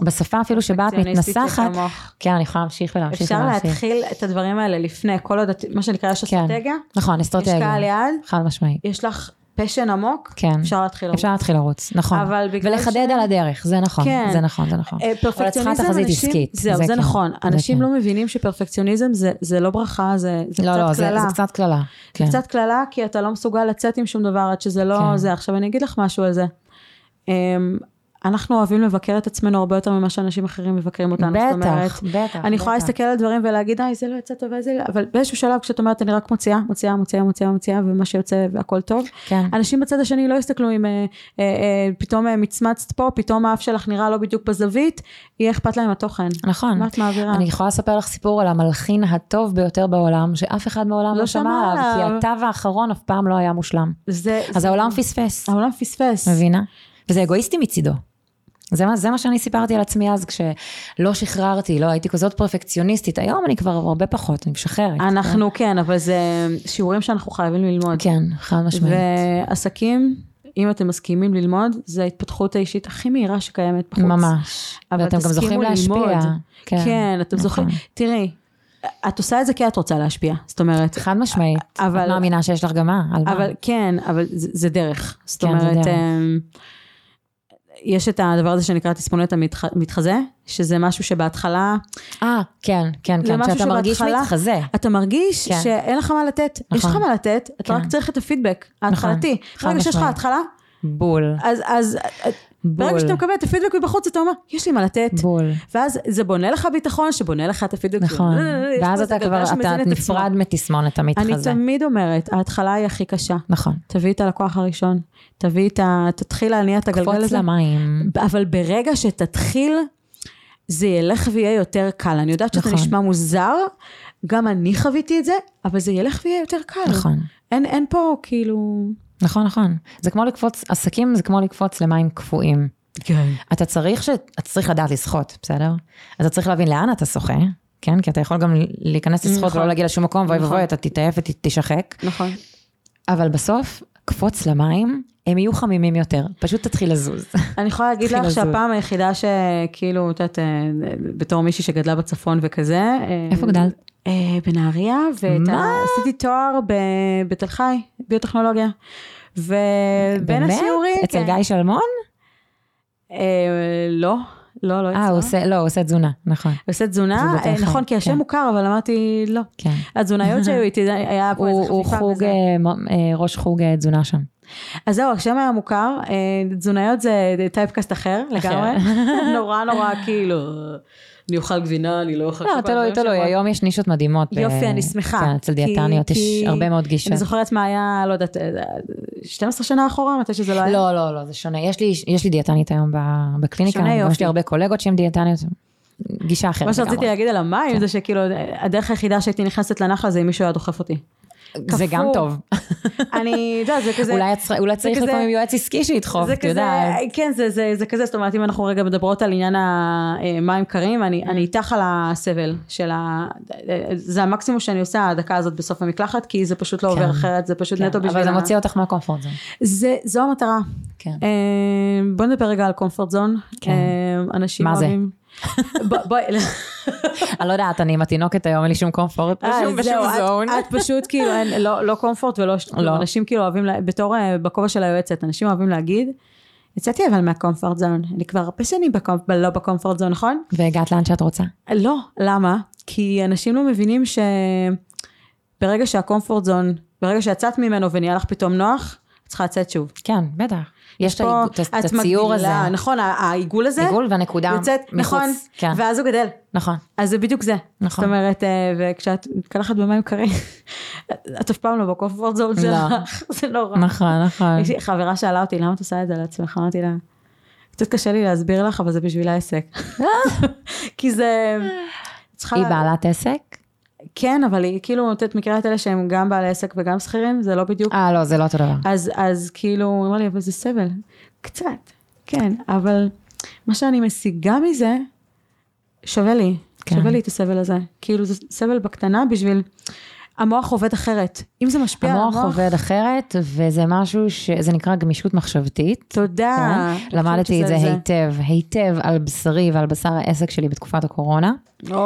B: בשפה אפילו שבה את
A: פרפקציוניסטית
B: מתנסחת.
A: שכמוך.
B: כן, אני יכולה להמשיך ולהמשיך
A: אפשר
B: ולהמשיך.
A: להתחיל את הדברים האלה לפני, כל עוד, את- מה שנקרא, יש
B: כן.
A: אסטרטגיה,
B: נכון,
A: יש
B: אסטרטגיה.
A: קהל יעד,
B: חד משמעית.
A: יש לך פשן עמוק,
B: כן.
A: אפשר להתחיל.
B: אפשר להתחיל לרוץ, נכון.
A: לא. אבל בגלל
B: ולחדד
A: ש-
B: על הדרך, זה נכון,
A: כן.
B: זה נכון, זה נכון.
A: אה,
B: אבל את צריכה
A: פרפקציוניזם,
B: תחזית
A: אנשים,
B: עסקית.
A: זהו, זה
B: כן,
A: נכון,
B: זה
A: אנשים
B: כן.
A: לא מבינים שפרפקציוניזם זה- זה לא ברכה, זה זה
B: לא, לא,
A: קצת
B: זה
A: קללה.
B: זה קצת קללה.
A: זה
B: כן.
A: קצת קללה, כי אתה לא מסוגל לצאת עם שום דבר עד שזה לא
B: כן.
A: זה. עכשיו אני אגיד לך משהו על זה. אמ, אנחנו אוהבים לבקר את עצמנו הרבה יותר ממה שאנשים אחרים מבקרים אותנו. זאת אומרת,
B: בטח, בטח.
A: אני יכולה
B: בטח.
A: להסתכל על דברים ולהגיד, אי, זה לא יצא טוב, אי, זה לא, אבל באיזשהו שלב כשאת אומרת, אני רק מוציאה, מוציאה, מוציאה, מוציאה, מוציאה, ומה שיוצא והכל טוב.
B: כן.
A: אנשים בצד השני לא יסתכלו אם אה, אה, אה, פתאום אה, מצמצת פה, פתאום האף שלך נראה לא בדיוק בזווית, יהיה אכפת להם התוכן.
B: נכון.
A: מה את מעבירה?
B: אני יכולה לספר לך סיפור על המלחין הטוב ביותר בעולם, שאף אחד בעולם
A: לא
B: לא
A: שמע
B: שמע עליו, כי
A: עליו. אה.
B: התו האחרון אף פעם לא היה מושלם.
A: זה,
B: אז
A: זה-
B: העולם פספס,
A: העולם פספס.
B: מבינה? וזה אגואיסטי מצידו. זה מה, זה מה שאני סיפרתי על עצמי אז, כשלא שחררתי, לא הייתי כזאת פרפקציוניסטית. היום אני כבר הרבה פחות, אני משחררת.
A: אנחנו כן, אבל זה שיעורים שאנחנו חייבים ללמוד.
B: כן, חד משמעית.
A: ועסקים, אם אתם מסכימים ללמוד, זה ההתפתחות האישית הכי מהירה שקיימת בחוץ.
B: ממש.
A: אבל
B: ואתם גם
A: תסכימו
B: זוכים להשפיע.
A: ללמוד. כן, כן אתם
B: נכון.
A: זוכרים. תראי, את עושה את זה כי את רוצה להשפיע, זאת אומרת.
B: חד משמעית.
A: אבל-
B: את מאמינה שיש לך גם מה, על מה.
A: אבל כן, אבל זה, זה דרך. זאת
B: כן, זה
A: אומרת,
B: דרך.
A: אמ, יש את הדבר הזה שנקרא תסמונת המתחזה, שזה משהו שבהתחלה
B: אה, כן, כן,
A: זה
B: כן,
A: משהו
B: שאתה מרגיש
A: שבהתחלה-
B: מתחזה.
A: אתה מרגיש
B: כן.
A: שאין לך מה לתת. יש לך
B: נכון.
A: מה לתת, אתה
B: כן. נכון.
A: רק צריך את הפידבק ההתחלתי.
B: חד
A: ברגע שיש לך
B: משמעית.
A: התחלה,
B: בול.
A: אז, אז ברגע
B: בול.
A: שאתה מקבל את הפידבק מבחוץ, אתה אומר, יש לי מה לתת.
B: בול.
A: ואז זה בונה לך ביטחון, שבונה לך את הפידבק. אה,
B: נכון.
A: יש פה
B: ואז
A: איזה
B: אתה
A: גלגל
B: כבר, אתה
A: שמזין את עצמו.
B: נפרד מתסמונת
A: אני
B: המתחזה.
A: תמיד אומרת, ההתחלה היא הכי קשה.
B: נכון.
A: תביא את הלקוח הראשון, תביא את ה... תתחיל להניע את הגלגל
B: קפוץ
A: הזה.
B: למים.
A: אבל ברגע שתתחיל, זה ילך ויהיה יותר קל. אני יודעת שזה
B: נכון.
A: נשמע מוזר, גם אני חוויתי את זה, אבל זה ילך ויהיה יותר קל.
B: נכון.
A: אין, אין פה כאילו...
B: נכון, נכון. זה כמו לקפוץ, עסקים זה כמו לקפוץ למים קפואים.
A: כן.
B: אתה צריך ש... אתה צריך לדעת לשחות, בסדר? אתה צריך להבין לאן אתה שוחה, כן? כי אתה יכול גם להיכנס לשחות
A: נכון.
B: ולא להגיע לשום מקום, ואוי
A: נכון.
B: ואבוי, אתה תתעייף ותשחק.
A: נכון.
B: אבל בסוף, קפוץ למים, הם יהיו חמימים יותר. פשוט תתחיל לזוז.
A: אני יכולה להגיד
B: התחיל
A: לך
B: לזוז.
A: שהפעם היחידה שכאילו, את יודעת, אה, בתור מישהי שגדלה בצפון וכזה. אה,
B: איפה גדלת?
A: אה, בנהריה,
B: מה?
A: ועשיתי תואר ב- בתל חי, ביוטכנולוגיה. ובין
B: באמת?
A: השיעורים...
B: אצל
A: כן.
B: גיא שלמון?
A: אה, לא, לא, לא אצלו.
B: אה, הוא עושה, לא, הוא עושה תזונה, נכון.
A: הוא עושה תזונה,
B: תזונת
A: אה,
B: האחד,
A: נכון, כי השם
B: כן.
A: מוכר, אבל אמרתי לא.
B: כן.
A: התזונאיות שהיו איתי, זה היה פה
B: הוא
A: איזה
B: הוא
A: חפיפה
B: חוג,
A: וזה.
B: אה, מ- אה, ראש חוג אה, תזונה שם.
A: אז זהו, השם היה מוכר, אה, תזונאיות זה טייפקאסט אחר לגמרי.
B: <laughs>
A: נורא נורא כאילו, אני אוכל גבינה, אני לא אוכל...
B: לא,
A: שוקולד",
B: תלוי,
A: דברים
B: תלוי,
A: שמאוד-
B: היום יש נישות מדהימות. ב-
A: יופי, אני שמחה.
B: כן, אצל
A: כי-
B: דיאטניות יש
A: כי-
B: הרבה מאוד גישות.
A: אני זוכרת מה היה, לא יודעת, אה, 12 שנה אחורה, מתי שזה לא היה.
B: לא, לא, לא, זה שונה. יש לי, יש לי דיאטנית היום ב- בקליניקה,
A: שונה,
B: גם
A: יופי.
B: יש לי הרבה קולגות שהן דיאטניות. גישה אחרת
A: מה
B: כן, לגמרי. כן.
A: שרציתי להגיד על המים זה שכאילו, אה, הדרך היחידה שהייתי נכנסת לנחל זה אם מישהו היה דוחף
B: <laughs>
A: אותי.
B: זה גם
A: קפוא.
B: טוב.
A: <laughs> אני, אתה יודע, זה כזה...
B: אולי את צריכה- אולי צריך
A: כזה-
B: לפעמים יועץ עסקי שידחוף,
A: זה
B: את
A: כזה,
B: יודעת.
A: כן, זה, זה, זה כזה, זאת אומרת, אם אנחנו רגע מדברות על עניין המים קרים, אני,
B: Mm.
A: אני איתך על הסבל של ה... אה, זה המקסימום שאני עושה, ההדקה הזאת בסוף המקלחת, כי זה פשוט לא
B: כן.
A: עובר אחרת, זה פשוט
B: כן,
A: נטו בשביל...
B: אבל זה
A: ה-
B: מוציא אותך
A: <laughs>
B: מהקומפורט זון.
A: זה, זו המטרה.
B: כן.
A: אה, בוא נדבר רגע על קומפורט זון.
B: כן.
A: אה, אנשים
B: מה זה? <laughs>
A: אוהבים... בוא- בואי,
B: אני לא יודעת, אני עם התינוקת היום, אין לי שום קומפורט.
A: אה,
B: בשום בשום
A: זהו, את-
B: זון.
A: את פשוט כאילו, אין- לא לא קומפורט ולא... ש-
B: לא.
A: אנשים כאילו אוהבים, לה- בתור, אה, בכובע של היועצת, אנשים אוהבים להגיד, יצאתי אבל מהקומפורט זון, אני כבר הרבה שנים בקומפ- ב- לא בקומפורט זון, נכון?
B: והגעת לאן שאת רוצה.
A: לא, למה? כי אנשים לא מבינים שברגע שהקומפורט זון, ברגע שיצאת ממנו ונהיה לך פתאום נוח, את צריכה לצאת שוב.
B: כן, בטח. יש את
A: פה
B: האיג- את
A: את
B: את הציור הזה.
A: מגדילה, נכון, ה- העיגול הזה,
B: עיגול והנקודה
A: יוצאת,
B: מחוץ.
A: נכון,
B: כן,
A: ואז הוא גדל.
B: נכון.
A: אז זה בדיוק זה.
B: נכון.
A: זאת אומרת, אה, וכשאת מתקלחת במים קרים, את אף פעם לא בקומפורט זון
B: לא.
A: שלך, <laughs> זה נורא.
B: נכון, נכון.
A: יש לי חברה שאלה אותי, למה את עושה את זה לעצמך? אמרתי לה, קצת קשה לי להסביר לך, אבל זה בשביל העסק. <laughs> כי זה... צריכה
B: אה? היא
A: לה-
B: בעלת עסק?
A: כן, אבל היא כאילו, את יודעת, מכירה את אלה שהם גם בעלי עסק וגם שכירים, זה לא בדיוק.
B: אה, לא, זה לא אותו דבר.
A: אז, אז כאילו, הוא אמר לי, אבל זה סבל. קצת, כן, אבל מה שאני משיגה מזה, שווה לי.
B: כן.
A: שווה לי את הסבל הזה. כאילו, זה סבל בקטנה בשביל... המוח עובד אחרת. אם זה משפיע על
B: המוח
A: כן, המוח...
B: עובד אחרת, וזה משהו ש... זה נקרא גמישות מחשבתית.
A: תודה.
B: כן?
A: אה, אני חושבת
B: למדתי את
A: שזה-
B: זה היטב, היטב על בשרי ועל בשר העסק שלי בתקופת הקורונה,
A: אוי.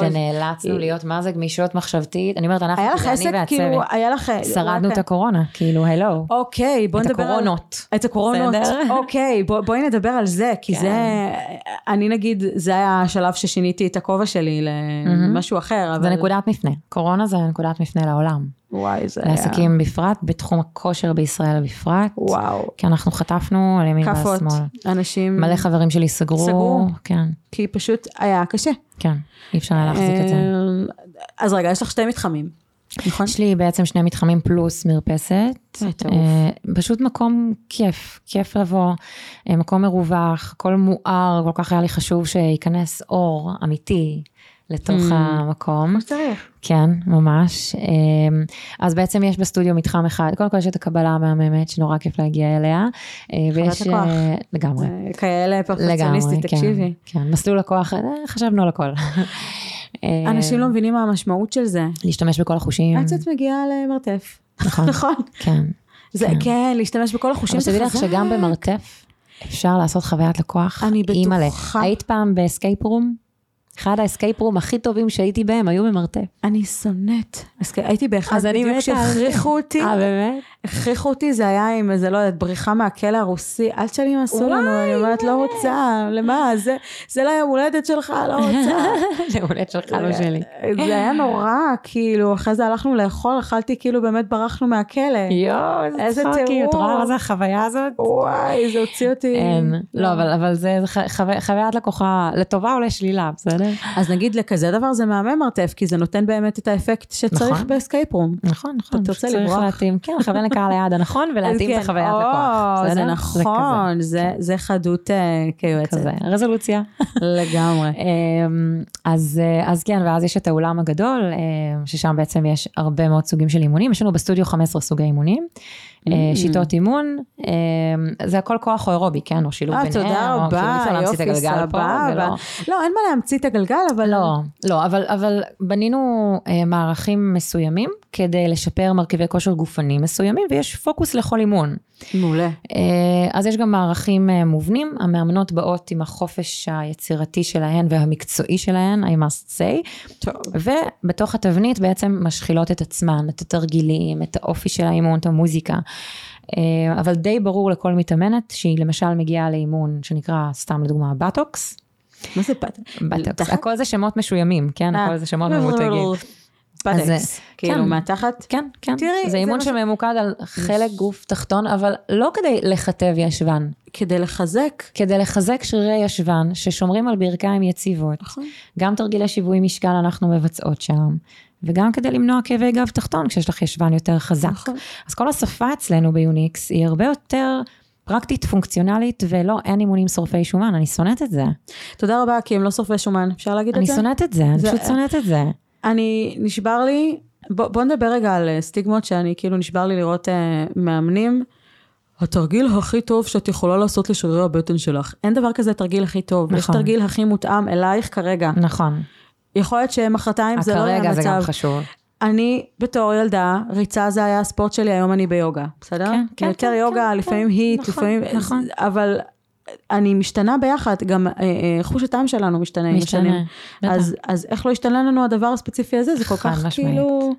B: שנאלצנו להיות, מה זה גמישות מחשבתית? אני אומרת, אנחנו,
A: היה לך
B: זה אני
A: עסק, כאילו,
B: והצוות.
A: היה לך...
B: שרדנו את הקורונה, כאילו, הלו.
A: אוקיי, בוא
B: את
A: נדבר על...
B: הקורונות.
A: את הקורונות.
B: בסדר?
A: <laughs> אוקיי, בוא, בואי נדבר על זה, כי
B: כן.
A: זה... אני נגיד, זה היה השלב ששיניתי את הכובע שלי למשהו אחר, אבל...
B: זה נקודת מפנה. קורונה זה נקודת מפנה לעולם.
A: וואי, זה היה...
B: לעסקים בפרט, בתחום הכושר בישראל בפרט.
A: אה, וואו.
B: כי אנחנו חטפנו על ימין
A: כאפות,
B: ועל שמאל.
A: אנשים,
B: מלא חברים שלי סגרו.
A: סגרו.
B: כן,
A: כי פשוט היה קשה.
B: כן. אי אפשר היה להחזיק את זה.
A: אה, אז רגע, יש לך שתי מתחמים, נכון?
B: יש לי בעצם שני מתחמים פלוס מרפסת.
A: זה טירוף.
B: אה, פשוט מקום כיף, כיף לבוא, אה, מקום מרווח, הכל מואר, כל כך היה לי חשוב שייכנס אור אמיתי לתוך
A: Mm.
B: המקום.
A: כמו שצריך.
B: כן, ממש. אמ, אז בעצם יש בסטודיו מתחם אחד, קודם כל יש את הקבלה המהממת, שנורא כיף להגיע אליה. אה, ויש...
A: לקוח.
B: אה, לגמרי.
A: זה כאלה
B: לגמרי,
A: פרפקציוניסטית,
B: כן,
A: תקשיבי.
B: כן, מסלול לקוח, אה, חשבנו על הכל. אה,
A: אנשים לא מבינים מה המשמעות של זה.
B: להשתמש בכל החושים,
A: עד שאת מגיעה למרתף.
B: נכון,
A: <laughs> נכון.
B: כן.
A: זה כן, להשתמש בכל החושים
B: אבל שתדעי לך
A: חזק.
B: שגם במרתף אפשר לעשות חוויית לקוח.
A: אני
B: אימא'לה.
A: בטוחה.
B: היית פעם באסקייפ רום? אחד האסקייפ רום הכי טובים שהייתי בהם היו במרתף.
A: אני שונאת. אז כ- הייתי באחד
B: אז אני
A: בדיוק
B: מתה על זה.
A: שהכריחו אותי,
B: אה, <laughs> באמת?
A: הכריחו אותי, זה היה עם איזה, לא יודעת, בריחה מהכלא הרוסי, אל תשאלי מה עשו לנו, אני אומרת, לא רוצה, למה, זה- זה לא יום הולדת שלך, <laughs> לא רוצה.
B: זה הולדת שלך, לא שלי.
A: זה היה נורא, כאילו, אחרי זה הלכנו לאכול, אכלתי, כאילו, באמת ברחנו מהכלא.
B: יואו,
A: איזה טירוף.
B: את רואה מה זה החוויה הזאת?
A: וואי, זה הוציא אותי.
B: אין. לא, אבל- אבל זה ח- חו- חוויית לקוחה לטובה או לשלילה, בסדר?
A: אז נגיד לכזה דבר זה מהמם מרתף, כי זה נותן באמת את האפקט שצריך
B: נכון.
A: באסקייפ רום.
B: נכון, נכון.
A: אתה רוצה
B: צריך
A: לברוח.
B: להתאים, כן, לכוון לקהל היעד הנכון ולהתאים את
A: <laughs> כן,
B: החוויית
A: או,
B: לקוח.
A: זה
B: בסדר? כזה.
A: נכון, זה- זה חדות אה, כיועצת.
B: כזה,
A: <laughs>
B: רזולוציה.
A: לגמרי.
B: אמ, אז, אה, אז כן, ואז יש את האולם הגדול, אמ, ששם בעצם יש הרבה מאוד סוגים של אימונים. יש לנו בסטודיו 15 סוגי אימונים, אה,
A: Mm.
B: שיטות אימון, אמ, זה הכל כוח או אירובי, כן? או שילוב
A: אה,
B: ביניהם.
A: תודה
B: או כאילו
A: רבה,
B: אי אפשר להמציא את
A: יופי,
B: הגלגל פה
A: סבבה.
B: ולא-
A: לא, אין מה להמציא את הגלגל, אבל...
B: לא, לא, אבל, אבל בנינו אה, מערכים מסוימים כדי לשפר מרכיבי כושר גופני מסוימים, ויש פוקוס לכל אימון.
A: מעולה.
B: אה, אז יש גם מערכים אה, מובנים, המאמנות באות עם החופש היצירתי שלהן והמקצועי שלהן, I must say,
A: טוב.
B: ובתוך התבנית בעצם משחילות את עצמן, את התרגילים, את האופי של האימון, את המוזיקה. אה, אבל די ברור לכל מתאמנת שהיא למשל מגיעה לאימון שנקרא, סתם לדוגמה, בטוקס.
A: מה זה פת?
B: בטקס.
A: תחת?
B: הכל זה שמות משוימים, כן?
A: נכון. אה.
B: הכל זה שמות ממותגים.
A: פטקס.
B: אז,
A: כאילו,
B: כן.
A: מהתחת?
B: כן, כן.
A: תראי,
B: זה אימון
A: זה מה
B: שממוקד על חלק גוף תחתון, אבל לא כדי לכתב ישבן,
A: כדי לחזק.
B: כדי לחזק שרירי ישבן ששומרים על ברכיים יציבות.
A: נכון.
B: גם תרגילי שיווי משקל אנחנו מבצעות שם, וגם כדי למנוע כאבי גב תחתון כשיש לך ישבן יותר חזק.
A: נכון.
B: אז כל השפה אצלנו ביוניקס היא הרבה יותר פרקטית, פונקציונלית, ולא, אין אימונים שורפי שומן, אני שונאת את זה.
A: תודה רבה, כי הם לא שורפי שומן, אפשר להגיד את
B: אני
A: זה?
B: שונאת את זה, אני
A: זה-
B: פשוט שונאת את זה.
A: אני, נשבר לי, בוא, בוא נדבר רגע על אה, סטיגמות שאני, כאילו נשבר לי לראות אה, מאמנים. התרגיל הכי טוב שאת יכולה לעשות לשרירי הבטן שלך. אין דבר כזה תרגיל הכי טוב. יש
B: נכון.
A: תרגיל הכי מותאם אלייך כרגע.
B: נכון.
A: יכול להיות שמחרתיים זה לא יהיה
B: כרגע אה, זה גם
A: המצב.
B: חשוב.
A: אני בתור ילדה, ריצה זה היה הספורט שלי, היום אני ביוגה, בסדר? כאילו,
B: כן, כן,
A: יותר
B: כן,
A: יוגה,
B: כן,
A: לפעמים
B: כן.
A: היט,
B: נכון,
A: לפעמים...
B: נכון.
A: אבל אני משתנה ביחד, גם אה, אה, חוש הטעם שלנו משתנה עם השנים.
B: משתנה. בטח.
A: אז, אז איך לא השתנה לנו הדבר הספציפי הזה? זה כל
B: חד
A: כך
B: משמעית.
A: כאילו...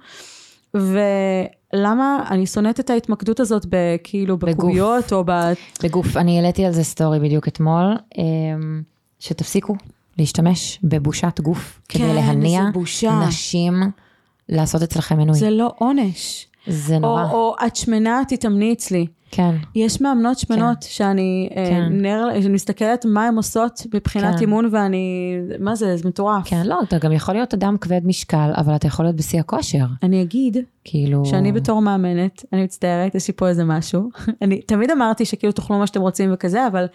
A: ולמה אני שונאת את ההתמקדות הזאת בכאילו
B: בגוף.
A: בקוביות או ב...
B: בגוף, אני העליתי על זה סטורי בדיוק אתמול, אמ, שתפסיקו להשתמש בבושת גוף כדי להניע
A: זה כן, בושה.
B: נשים לעשות אצלכם מנוי.
A: זה לא עונש.
B: זה נורא.
A: או, או את שמנה, תתאמני אצלי.
B: כן,
A: יש מאמנות שמנות כן. שאני כן.
B: כן.
A: נר, שאני מסתכלת מה הן עושות מבחינת
B: כן.
A: אימון ואני, מה זה, זה מטורף.
B: כן, לא, אתה גם יכול להיות אדם כבד משקל, אבל אתה יכול להיות בשיא הכושר.
A: אני אגיד
B: כאילו...
A: שאני בתור מאמנת, אני מצטערת, יש לי פה איזה משהו. <laughs> אני תמיד אמרתי שכאילו תאכלו מה שאתם רוצים וכזה, אבל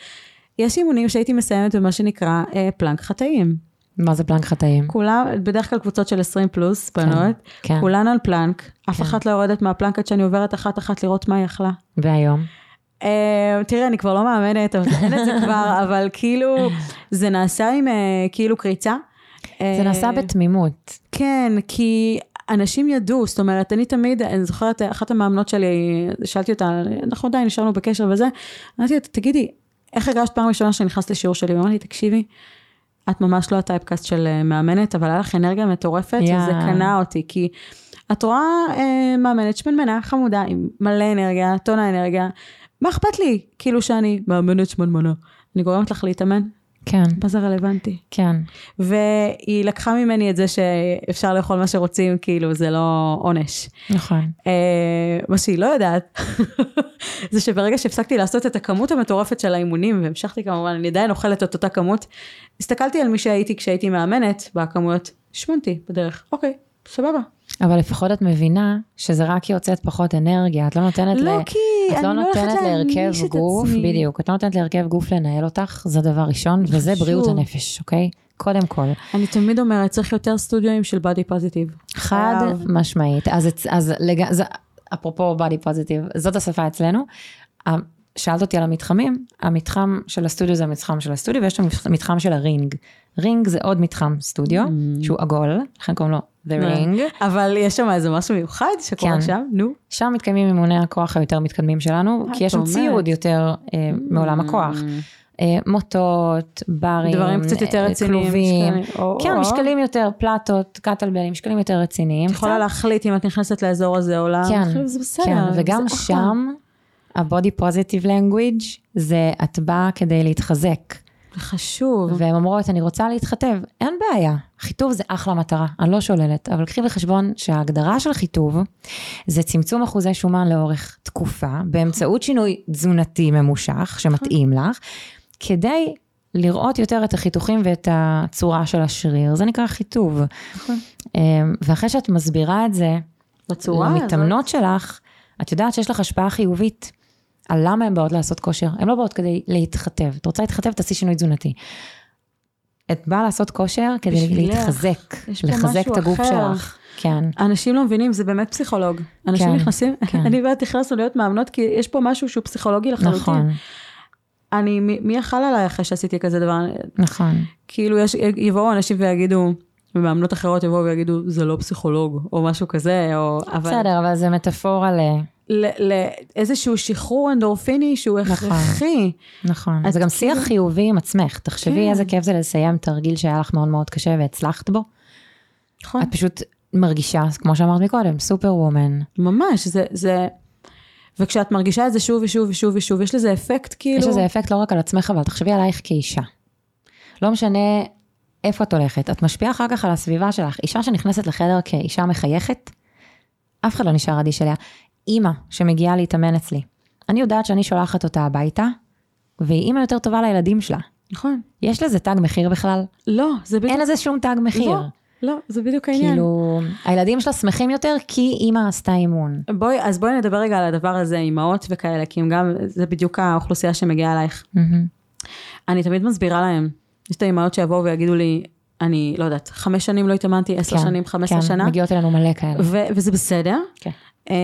A: יש אימונים שהייתי מסיימת במה שנקרא אה, פלנק חטאים.
B: מה זה פלנק חטאים?
A: כולם, בדרך כלל קבוצות של 20 פלוס, בנות,
B: כן,
A: כולן על פלנק, אף
B: כן.
A: אחת לא יורדת מהפלנק עד שאני עוברת אחת-אחת לראות מה היא אכלה.
B: והיום?
A: אה, תראי, אני כבר לא מאמנת, אבל אין את זה כבר, אבל כאילו, זה נעשה עם אה, כאילו קריצה. אה,
B: זה נעשה בתמימות.
A: כן, כי אנשים ידעו, זאת אומרת, אני תמיד, אני זוכרת, אה, אחת המאמנות שלי, שאלתי אותה, אנחנו עדיין נשארנו בקשר וזה, אמרתי לה, תגידי, איך הרגשת פעם ראשונה שנכנסת לשיעור שלי? היא אמרה לי, תקשיבי, את ממש לא הטייפקאסט של אה, מאמנת, אבל היה לך אנרגיה מטורפת,
B: יא.
A: וזה קנה אותי, כי את רואה אה, מאמנת שמנמנה, חמודה, עם מלא אנרגיה, טונה אנרגיה, מה אכפת לי, כאילו שאני מאמנת שמנמנה, אני גורמת לך להתאמן?
B: כן,
A: מה זה רלוונטי?
B: כן.
A: והיא לקחה ממני את זה שאפשר לאכול מה שרוצים, כאילו זה לא עונש.
B: נכון.
A: אה, מה שהיא לא יודעת, <laughs> זה שברגע שהפסקתי לעשות את הכמות המטורפת של האימונים, והמשכתי כמובן, אני עדיין אוכלת את אותה כמות, הסתכלתי על מי שהייתי כשהייתי מאמנת, בכמויות, שמנתי בדרך, אוקיי, סבבה.
B: אבל לפחות את מבינה שזה רק כי הוצאת פחות אנרגיה, את לא נותנת
A: לא,
B: ל...
A: כי
B: את
A: אני
B: לא
A: לא
B: נותנת
A: הולכת להעניש
B: להרכב
A: את
B: גוף,
A: עצמי.
B: בדיוק, את לא נותנת להרכב גוף לנהל אותך, זה דבר ראשון, וזה
A: חשוב.
B: בריאות הנפש, אוקיי? קודם כל.
A: אני תמיד אומרת, צריך יותר סטודיואים של בדי פוזיטיב.
B: חד
A: חייב.
B: משמעית. אז, אצ- אז לג... זה, אפרופו בody positive, זאת השפה אצלנו. ה- שאלת אותי על המתחמים, המתחם של הסטודיו זה המתחם של הסטודיו, ויש את המתחם של הרינג. רינג זה עוד מתחם סטודיו,
A: Mm.
B: שהוא עגול, לכן קוראים לו The Ring.
A: כן. אבל יש שם איזה משהו מיוחד שקורה
B: כן.
A: שם, נו.
B: שם מתקיימים אימוני הכוח היותר מתקדמים שלנו,
A: אה,
B: כי יש שם
A: אתה אומר.
B: ציוד יותר אה,
A: Mm.
B: מעולם הכוח. אה, מוטות, ברים,
A: דברים קצת יותר
B: אה,
A: רציניים.
B: כלובים.
A: משקלים. או-
B: כן,
A: או-
B: משקלים יותר, פלטות, קטלבלים, משקלים יותר רציניים.
A: את יכולה להחליט אם את נכנסת לאזור הזה או לא.
B: כן,
A: כאילו, זה בסדר.
B: כן, וגם
A: זה אחלה.
B: שם, ה-body positive language, זה את באה כדי להתחזק.
A: זה חשוב.
B: והן אומרות, אני רוצה להתחתב, אין בעיה, חיטוב זה אחלה מטרה, אני לא שוללת, אבל קחי בחשבון שההגדרה של חיטוב, זה צמצום אחוזי שומן לאורך תקופה, באמצעות שינוי תזונתי ממושך, שמתאים לך, כדי לראות יותר את החיתוכים ואת הצורה של השריר, זה נקרא חיטוב.
A: נכון.
B: אמ, ואחרי שאת מסבירה את זה,
A: בצורה
B: לא
A: הזאת.
B: למתאמנות שלך, את יודעת שיש לך השפעה חיובית על למה הן באות לעשות כושר. הן לא באות כדי להתחתב. את רוצה להתחתב, תעשי שינוי תזונתי. את באה לעשות כושר כדי
A: בשבילך.
B: להתחזק,
A: יש פה
B: לחזק
A: משהו
B: את הגוף
A: אחר.
B: שלך. כן,
A: אנשים לא מבינים, זה באמת פסיכולוג. אנשים
B: כן,
A: נכנסים, <laughs>
B: כן.
A: אני ואת נכנסנו להיות מאמנות, כי יש פה משהו שהוא פסיכולוגי לחלוטין.
B: נכון,
A: אני, מי מי יכל עליי אחרי שעשיתי כזה דבר?
B: נכון.
A: כאילו, יש, יבואו אנשים ויגידו, ומאמנות אחרות יבואו ויגידו, זה לא פסיכולוג, או משהו כזה, או... אבל...
B: בסדר, אבל זה מטאפורה ל...
A: ל- לאיזשהו שחרור אנדורפיני שהוא
B: נכון.
A: הכרחי.
B: נכון.
A: אז
B: זה גם
A: כאילו-
B: שיח חיובי עם עצמך. תחשבי
A: כן.
B: איזה כיף זה לסיים תרגיל שהיה לך מאוד מאוד קשה והצלחת בו.
A: נכון.
B: את פשוט מרגישה, כמו שאמרת מקודם, סופר וומן.
A: ממש, זה, זה... וכשאת מרגישה את זה שוב ושוב ושוב ושוב, יש לזה אפקט כאילו...
B: יש לזה אפקט לא רק על עצמך, אבל תחשבי עלייך כאישה. לא משנה איפה את הולכת, את משפיעה אחר כך על הסביבה שלך. אישה שנכנסת לחדר כאישה מחייכת, אף אחד לא נשאר אדיש אליה. אימא שמגיעה להתאמן אצלי, אני יודעת שאני שולחת אותה הביתה, והיא אימא יותר טובה לילדים שלה.
A: נכון.
B: יש לזה תג מחיר בכלל?
A: לא, זה בדיוק...
B: אין לזה שום תג מחיר.
A: לא, לא, זה בדיוק העניין.
B: כאילו, הילדים שלה שמחים יותר כי אימא עשתה אימון.
A: בואי, אז בואי נדבר רגע על הדבר הזה, אימהות וכאלה, כי הם גם, זה בדיוק האוכלוסייה שמגיעה אלייך.
B: מהמם.
A: אני תמיד מסבירה להם. יש את האימהות שיבואו ויגידו לי, אני לא יודעת, חמש שנים לא התאמנתי, עשר
B: כן,
A: שנים, חמש עשרה
B: כן,
A: שנה,
B: מגיעות אלינו מלא כאלה.
A: ו- וזה בסדר.
B: כן.
A: אמ,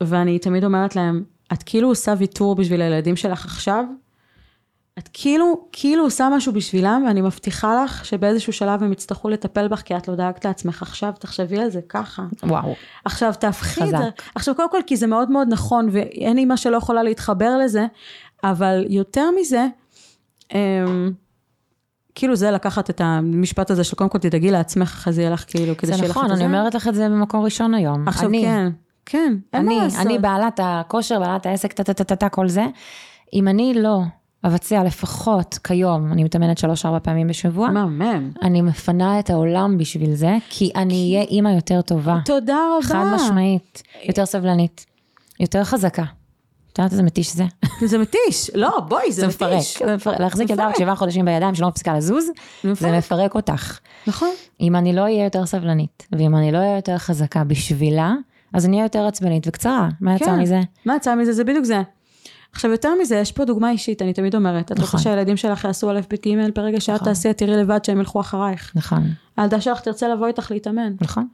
A: ואני תמיד אומרת להם, את כאילו עושה ויתור בשביל הילדים שלך עכשיו, את כאילו, כאילו עושה משהו בשבילם, ואני מבטיחה לך שבאיזשהו שלב הם יצטרכו לטפל בך, כי את לא דאגת לעצמך עכשיו, תחשבי על זה ככה.
B: וואו.
A: עכשיו תהפכי את
B: חזק.
A: זה. עכשיו קודם כל כי זה מאוד מאוד נכון ואין אימא שלא יכולה להתחבר לזה, אבל יותר מזה, אמ, כאילו זה לקחת את המשפט הזה של קודם כל תדאגי לעצמך, אחרי זה יהיה לך כאילו, כדי
B: זה
A: שיהיה לך את
B: נכון, אני
A: זה.
B: אומרת לך את זה במקום ראשון היום.
A: עכשיו
B: אני,
A: כן, כן, אין מה
B: אני,
A: לעשות.
B: אני בעלת הכושר, בעלת העסק, טה-טה-טה-טה, כל זה. אם אני לא אבצע לפחות כיום, אני מתאמנת שלוש-ארבע פעמים בשבוע,
A: מהמם.
B: אני מפנה את העולם בשביל זה, כי אני אהיה אימא יותר טובה.
A: תודה רבה.
B: חד משמעית, יותר סבלנית, יותר חזקה. את יודעת איזה מתיש זה?
A: זה מתיש, לא בואי, זה
B: זה מפרק.
A: מתיש.
B: זה מפרק. להחזיק ילדה בת
A: מפרק.
B: שבעה חודשים בידיים שלא מפסיקה לזוז, זה מפרק אותך.
A: נכון.
B: אם אני לא אהיה יותר סבלנית, ואם אני לא אהיה יותר חזקה בשבילה, אז אני אהיה יותר עצבנית וקצרה. מה יצא
A: כן.
B: מזה?
A: מה יצא מזה? זה בדיוק זה. עכשיו, יותר מזה, יש פה דוגמה אישית, אני תמיד אומרת. את רוצה
B: נכון.
A: שהילדים שלך יעשו א', ב', ג', ברגע שאת
B: נכון.
A: תעשי, את תראי לבד שהם ילכו אחרייך.
B: נכון,
A: הילדה שלך תרצה לבוא איתך להתאמן.
B: נכון.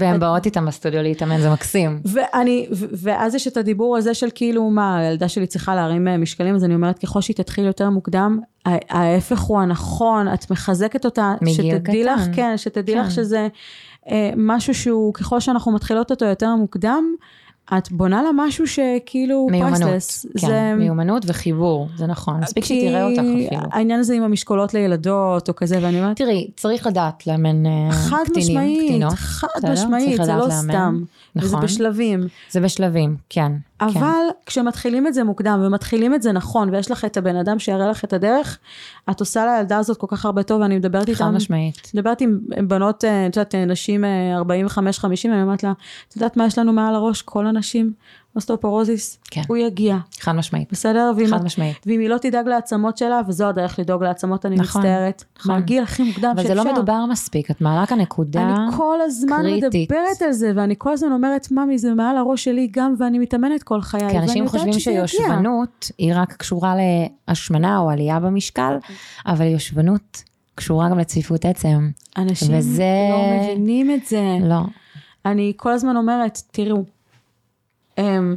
B: והן באות איתם בסטודיו להתאמן, זה מקסים.
A: ואני, ו- ואז יש את הדיבור הזה של כאילו, מה, הילדה שלי צריכה להרים אה, משקלים, אז אני אומרת, ככל שהיא תתחיל יותר מוקדם, ה- ההפך הוא הנכון, את מחזקת אותה,
B: מגיל
A: שתדעי
B: קטן.
A: לך, כן, שתדעי
B: כן.
A: לך שזה אה, משהו שהוא, ככל שאנחנו מתחילות אותו יותר מוקדם, את בונה לה משהו שכאילו
B: מיומנות,
A: priceless.
B: כן, מיומנות וחיבור, זה נכון. מספיק
A: כי
B: שהיא תראה אותך אפילו.
A: העניין הזה עם המשקולות לילדות או כזה, ואני אומרת,
B: תראי, צריך לדעת לאמן אה,
A: חד
B: קטינים,
A: משמעית,
B: קטינות.
A: חד
B: בסדר? צריך
A: משמעית, זה
B: לדעת
A: לא
B: לאמן.
A: סתם. וזה
B: נכון.
A: בשלבים.
B: זה בשלבים, כן.
A: אבל כשמתחילים את זה מוקדם ומתחילים את זה נכון ויש לך את הבן אדם שיראה לך את הדרך, את עושה לילדה הזאת כל כך הרבה טוב ואני מדברת
B: חד
A: איתם.
B: משמעית.
A: מדברת עם בנות, אה, את יודעת, אה, נשים אה, 45-50 ואני אומרת לה, את יודעת מה יש לנו מעל הראש? כל הנשים, אוסטאופורוזיס,
B: כן.
A: הוא יגיע,
B: חד משמעית.
A: בסדר? ואם
B: חד
A: את-
B: משמעית.
A: ואם היא לא תדאג לעצמות שלה, וזו הדרך לדאוג לעצמות, אני
B: נכון,
A: מצטערת.
B: נכון.
A: מהגיל הכי מוקדם
B: אבל
A: שאפשר.
B: זה לא מדובר מספיק, את מעלה כאן נקודה.
A: אני כל הזמן
B: קריטית.
A: מדברת על זה, ואני כל הזמן אומרת, ממי, זה מעל הראש שלי גם, ואני מתאמנת כל חיי, ואני
B: כי
A: יודעת שזה
B: אנשים
A: יגיע.
B: חושבים שיושבנות היא רק קשורה להשמנה או עלייה במשקל, אבל יושבנות קשורה גם לצפיפות עצם.
A: אנשים
B: וזה-
A: לא מבינים את זה.
B: לא.
A: אני כל הזמן אומרת, תראו, אמ,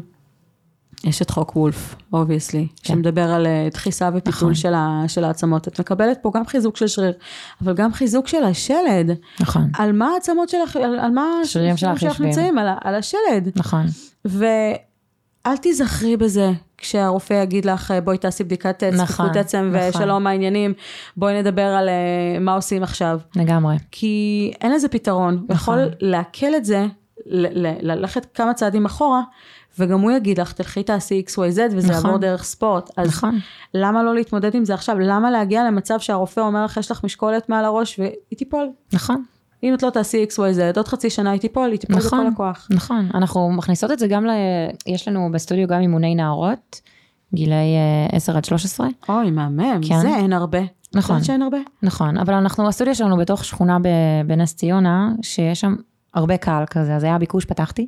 A: יש את חוק וולף, אובייסלי,
B: כן.
A: שמדבר על אה, דחיסה
B: נכון.
A: ופיתול של ה- של העצמות. את מקבלת פה גם חיזוק של שריר, אבל גם חיזוק של השלד.
B: נכון.
A: על מה העצמות שלך, על על מה
B: השרירים שלך יושבים.
A: נמצאים, על ה- על השלד.
B: נכון.
A: ואל תיזכרי בזה כשהרופא יגיד לך, בואי תעשי בדיקת אה,
B: נכון,
A: צפיפות עצם
B: נכון.
A: ושלום העניינים, בואי נדבר על אה, מה עושים עכשיו.
B: לגמרי.
A: כי אין לזה פתרון, הוא
B: נכון.
A: יכול לעכל את זה, ל- ל- ללכת כמה צעדים אחורה, וגם הוא יגיד לך, תלכי תעשי XYZ וזה
B: נכון.
A: יעבור דרך ספורט. אז
B: נכון.
A: למה לא להתמודד עם זה עכשיו? למה להגיע למצב שהרופא אומר לך, יש לך משקולת מעל הראש והיא תיפול?
B: נכון.
A: אם את לא תעשי XYZ, עוד חצי שנה היא תיפול, היא תיפול
B: נכון.
A: בכל הכוח.
B: נכון. אנחנו מכניסות את זה גם ל... יש לנו בסטודיו גם אימוני נערות, גילאי אה, 10 עד 13.
A: אוי, מהמם,
B: כן.
A: זה אין הרבה.
B: נכון.
A: יודעת שאין הרבה?
B: נכון, אבל אנחנו, הסטודיו שלנו בתוך שכונה ב- בנס ציונה, שיש שם הרבה קהל כזה, אז היה ביקוש, פתחתי.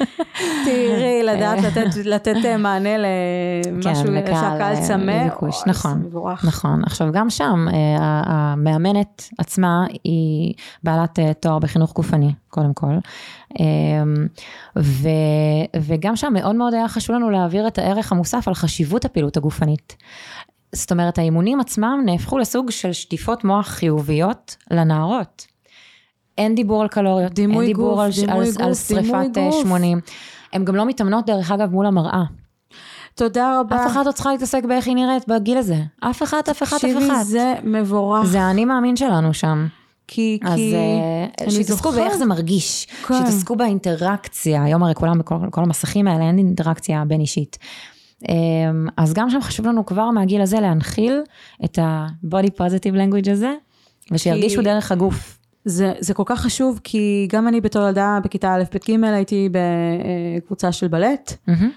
B: <laughs>
A: תראי, לדעת לתת- לתת אה, מענה למשהו
B: כן, לקהל,
A: שהקהל
B: אה,
A: צמא.
B: לביקוש,
A: אוי,
B: נכון.
A: זה מבורך.
B: נכון, עכשיו גם שם אה, ה- המאמנת עצמה היא בעלת אה, תואר בחינוך גופני, קודם כל. אה, ו, וגם שם מאוד מאוד היה חשוב לנו להעביר את הערך המוסף על חשיבות הפעילות הגופנית. זאת אומרת, האימונים עצמם נהפכו לסוג של שטיפות מוח חיוביות לנערות. אין דיבור על קלוריות, אין
A: דימוי
B: דיבור
A: גוף,
B: על, ש-
A: דימוי
B: על,
A: גוף,
B: על
A: דימוי
B: שריפת אה,
A: גוף.
B: 80. הן גם לא מתאמנות, דרך אגב, מול המראה.
A: תודה רבה.
B: אף אחת לא צריכה להתעסק באיך היא נראית בגיל הזה. אף אחת, אף אחת, אף
A: תקשיבי,
B: אחת.
A: זה מבורך.
B: זה האני מאמין שלנו שם.
A: כי,
B: אז
A: כי...
B: אה,
A: אני
B: שיתעסקו
A: זוכרת.
B: באיך זה מרגיש,
A: כן.
B: שיתעסקו באינטראקציה, היום הרי כולם, בכל כל המסכים האלה אין אינטראקציה בין אישית. אה, אז גם שם חשוב לנו כבר מהגיל הזה להנחיל את ה-body positive language הזה, ושירגישו
A: כי-
B: דרך הגוף.
A: זה, זה כל כך חשוב, כי גם אני בתור ילדה בכיתה א', ב', ג', הייתי בקבוצה של בלט,
B: מהמם,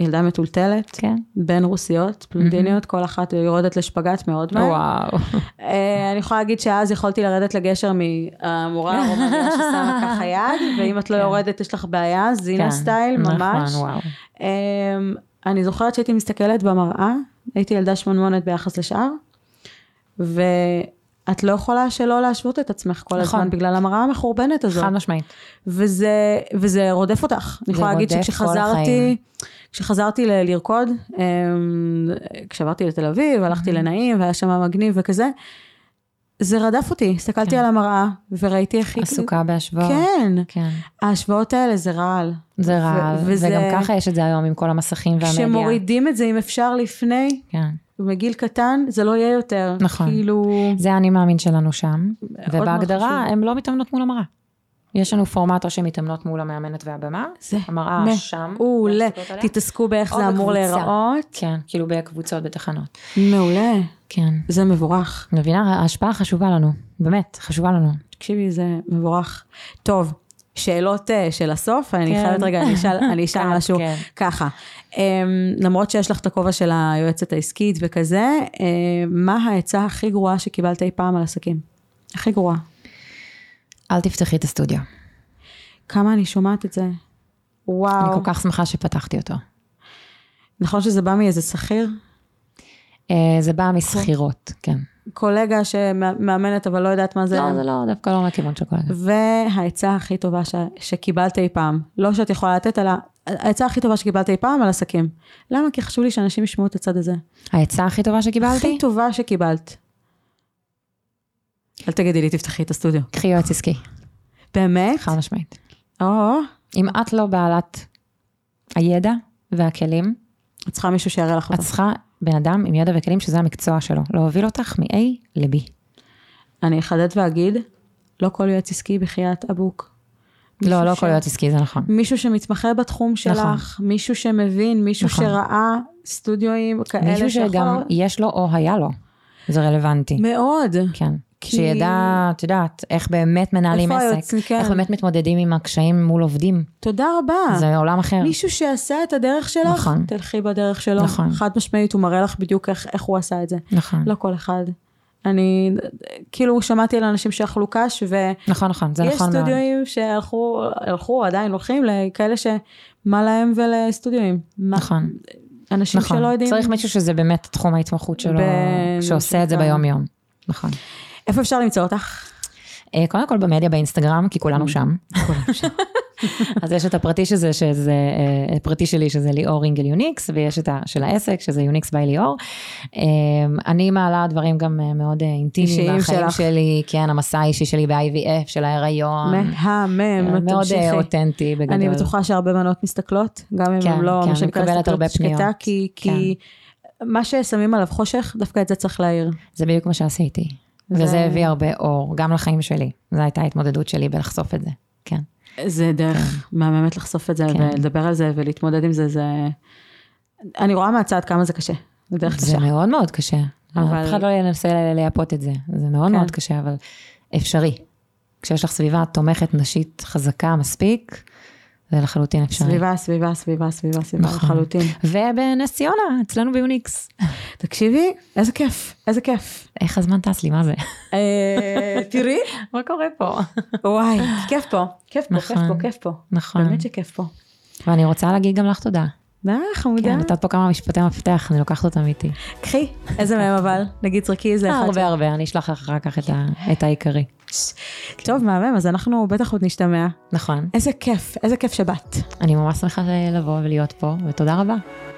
A: ילדה מטולטלת,
B: כן.
A: בין רוסיות, פלונדיניות, כל אחת יורדת לשפגט מאוד מהר.
B: וואו.
A: אה, אני יכולה להגיד שאז יכולתי לרדת לגשר מהמורה הרומניה ששמה
B: <laughs>
A: ככה יד, ואם את לא יורדת יש לך בעיה,
B: כן,
A: זינה סטייל, ממש.
B: נכון, וואו.
A: אמ, אני זוכרת שהייתי מסתכלת במראה, הייתי ילדה שמנמונת ביחס לשאר, ואת לא יכולה שלא להשוות את עצמך כל
B: נכון.
A: הזמן בגלל המראה המחורבנת הזאת.
B: חד משמעית.
A: וזה, וזה רודף אותך. אני יכולה להגיד
B: רודף כל החיים.
A: שכשחזרתי, כשחזרתי ל- לרקוד, אמ, כשעברתי לתל אביב,
B: Mhm.
A: הלכתי לנעים, והיה שם מגניב וכזה, זה רדף אותי. הסתכלתי
B: כן.
A: על המראה, וראיתי איך היא...
B: עסוקה בהשוואות.
A: כן.
B: כן.
A: ההשוואות האלה זה רעל.
B: זה
A: ו-
B: רעל,
A: וזה-
B: וגם ככה יש את זה היום עם כל המסכים והמדיה.
A: כשמורידים את זה, אם אפשר לפני,
B: כן.
A: מגיל קטן, זה לא יהיה יותר.
B: נכון.
A: כאילו...
B: זה האני מאמין שלנו שם,
A: מאוד
B: ובהגדרה
A: חשוב.
B: הן לא מתאמנות מול המראה. יש לנו פורמט או שהן מתאמנות מול המאמנת והבמה,
A: זה
B: המראה
A: מעולה.
B: שם. לא
A: מעולה.
B: מסתכלות עליה.
A: תתעסקו באיך
B: או
A: זה אמור
B: בקבוצה.
A: להיראות.
B: כן, כאילו בקבוצות, בתחנות.
A: מעולה.
B: כן.
A: זה מבורך.
B: מבינה, ההשפעה חשובה לנו, באמת, חשובה לנו.
A: תקשיבי, זה מבורך. טוב, שאלות אה, של הסוף, אני
B: כן.
A: חייבת רגע, אני אשאל, אני אשאל
B: <laughs> כן,
A: משהו
B: כן.
A: ככה. Um, למרות שיש לך את הכובע של היועצת העסקית וכזה, um, מה העצה הכי גרועה שקיבלת אי פעם על עסקים? הכי גרועה.
B: אל תפתחי את הסטודיו.
A: כמה אני שומעת את זה.
B: אני
A: וואו.
B: כל כך שמחה שפתחתי אותו.
A: נכון שזה בא מאיזה שכיר?
B: אה, זה בא מסחירות, כן.
A: קולגה שמאמנת אבל לא יודעת מה נכון. זה.
B: לא, זה לא, דווקא לא מהכיוון של כל
A: והעצה הכי טובה ש... שקיבלת אי פעם, לא שאת יכולה לתת, אלא העצה הכי טובה שקיבלת אי פעם על עסקים. למה? כי חשוב לי שאנשים ישמעו את הצד הזה.
B: העצה הכי טובה שקיבלתי?
A: הכי טובה שקיבלת. אל תגידי לי, תפתחי את הסטודיו.
B: קחי יועץ עסקי,
A: באמת?
B: חד משמעית.
A: או,
B: אם את לא בעלת הידע והכלים,
A: את צריכה מישהו שיראה לך
B: את
A: אותו.
B: צריכה בן אדם עם ידע וכלים שזה המקצוע שלו, להוביל אותך מ-A ל-B.
A: אני אחדד ואגיד, לא כל יועץ עסקי בחייאת אבוק.
B: לא,
A: מישהו
B: לא
A: ש-
B: כל יועץ עסקי, זה נכון.
A: מישהו שמתמחה בתחום שלך,
B: נכון.
A: מישהו שמבין, מישהו
B: נכון.
A: שראה סטודיואים כאלה
B: מישהו
A: שיכול-
B: שגם יש לו או היה לו, זה רלוונטי.
A: מאוד.
B: כן.
A: כי-
B: שידע, את יודעת, איך באמת מנהלים
A: איפה
B: עסק,
A: היועצים, כן.
B: איך באמת מתמודדים עם הקשיים מול עובדים,
A: תודה רבה.
B: זה עולם אחר.
A: מישהו שעשה את הדרך שלך,
B: נכון.
A: תלכי בדרך שלו.
B: נכון.
A: חד משמעית, הוא מראה לך בדיוק איך, איך הוא עשה את זה.
B: נכון,
A: לא כל אחד. אני כאילו שמעתי על אנשים שאכלו קש, ויש
B: נכון, נכון, זה נכון מאוד.
A: סטודיואים שהלכו, הלכו, עדיין הולכים לכאלה שמה להם ולסטודיואים. מה-
B: נכון,
A: אנשים
B: נכון.
A: שלא יודעים.
B: צריך מישהו שזה באמת תחום ההתמחות שלו,
A: ב-
B: שעושה את זה
A: שנקרא-
B: ביום-יום. נכון.
A: איפה אפשר למצוא אותך?
B: אה, קודם כל במדיה באינסטגרם, כי
A: Mm.
B: כולנו שם.
A: <laughs>
B: <laughs> אז יש את הפרטי שזה, שזה, אה, הפרטי שלי שזה ליאור אינגל יוניקס, ויש את ה, של העסק שזה יוניקס ביי ליאור. אה, אני מעלה דברים גם אה, מאוד אה, אינטימיים,
A: אישיים
B: מהחיים
A: שלך.
B: שלי, כן, המסע האישי שלי ב-IVF, של ההיריון.
A: מהמם,
B: נכון. מאוד אה,
A: תמשיכי.
B: אותנטי בגדול.
A: אני בטוחה שהרבה בנות מסתכלות, גם אם
B: כן,
A: הן לא,
B: כן,
A: מה
B: אני
A: שנקרא,
B: מקבלת הרבה
A: הסתכלות שקטה,
B: פניות. כן.
A: כי- כי מה ששמים עליו חושך, דווקא את זה צריך להעיר.
B: זה בדיוק מה שעשיתי.
A: זה-
B: וזה הביא הרבה אור, גם לחיים שלי. זו הייתה ההתמודדות שלי בלחשוף את זה. כן.
A: זה דרך מהממת לחשוף את זה
B: כן.
A: ולדבר על זה ולהתמודד עם זה, זה... אני רואה מהצד כמה זה קשה. זה דרך
B: זה
A: קשה.
B: מאוד מאוד קשה.
A: אבל-
B: אף אחד לא ינסה לייפות את זה. זה מאוד
A: כן.
B: מאוד קשה, אבל אפשרי. כשיש לך סביבה תומכת נשית חזקה מספיק, זה לחלוטין אפשרי.
A: סביבה, סביבה, סביבה, סביבה, סביבה
B: נכון.
A: לחלוטין.
B: ובנס ציונה, אצלנו ביוניקס.
A: תקשיבי, איזה כיף, איזה כיף.
B: איך הזמן טס לי, מה זה?
A: אה, תראי,
B: <laughs> מה קורה פה?
A: וואי, כיף פה, כיף פה, כיף פה,
B: נכון.
A: כיף פה.
B: נכון.
A: באמת שכיף פה.
B: ואני רוצה להגיד גם לך תודה. אה,
A: די, חמודה.
B: כן, נתת פה כמה משפטי מפתח, אני לוקחת אותם איתי.
A: קחי, איזה מהם אבל? נגיד זרקי איזה אחד.
B: הרבה הרבה, אני אשלח לך אחר כך את ה- את העיקרי.
A: טוב, מהמם, אז אנחנו בטח עוד נשתמע.
B: נכון.
A: איזה כיף, איזה כיף שבאת.
B: אני ממש שמחה לבוא ולהיות פה, ותודה רבה.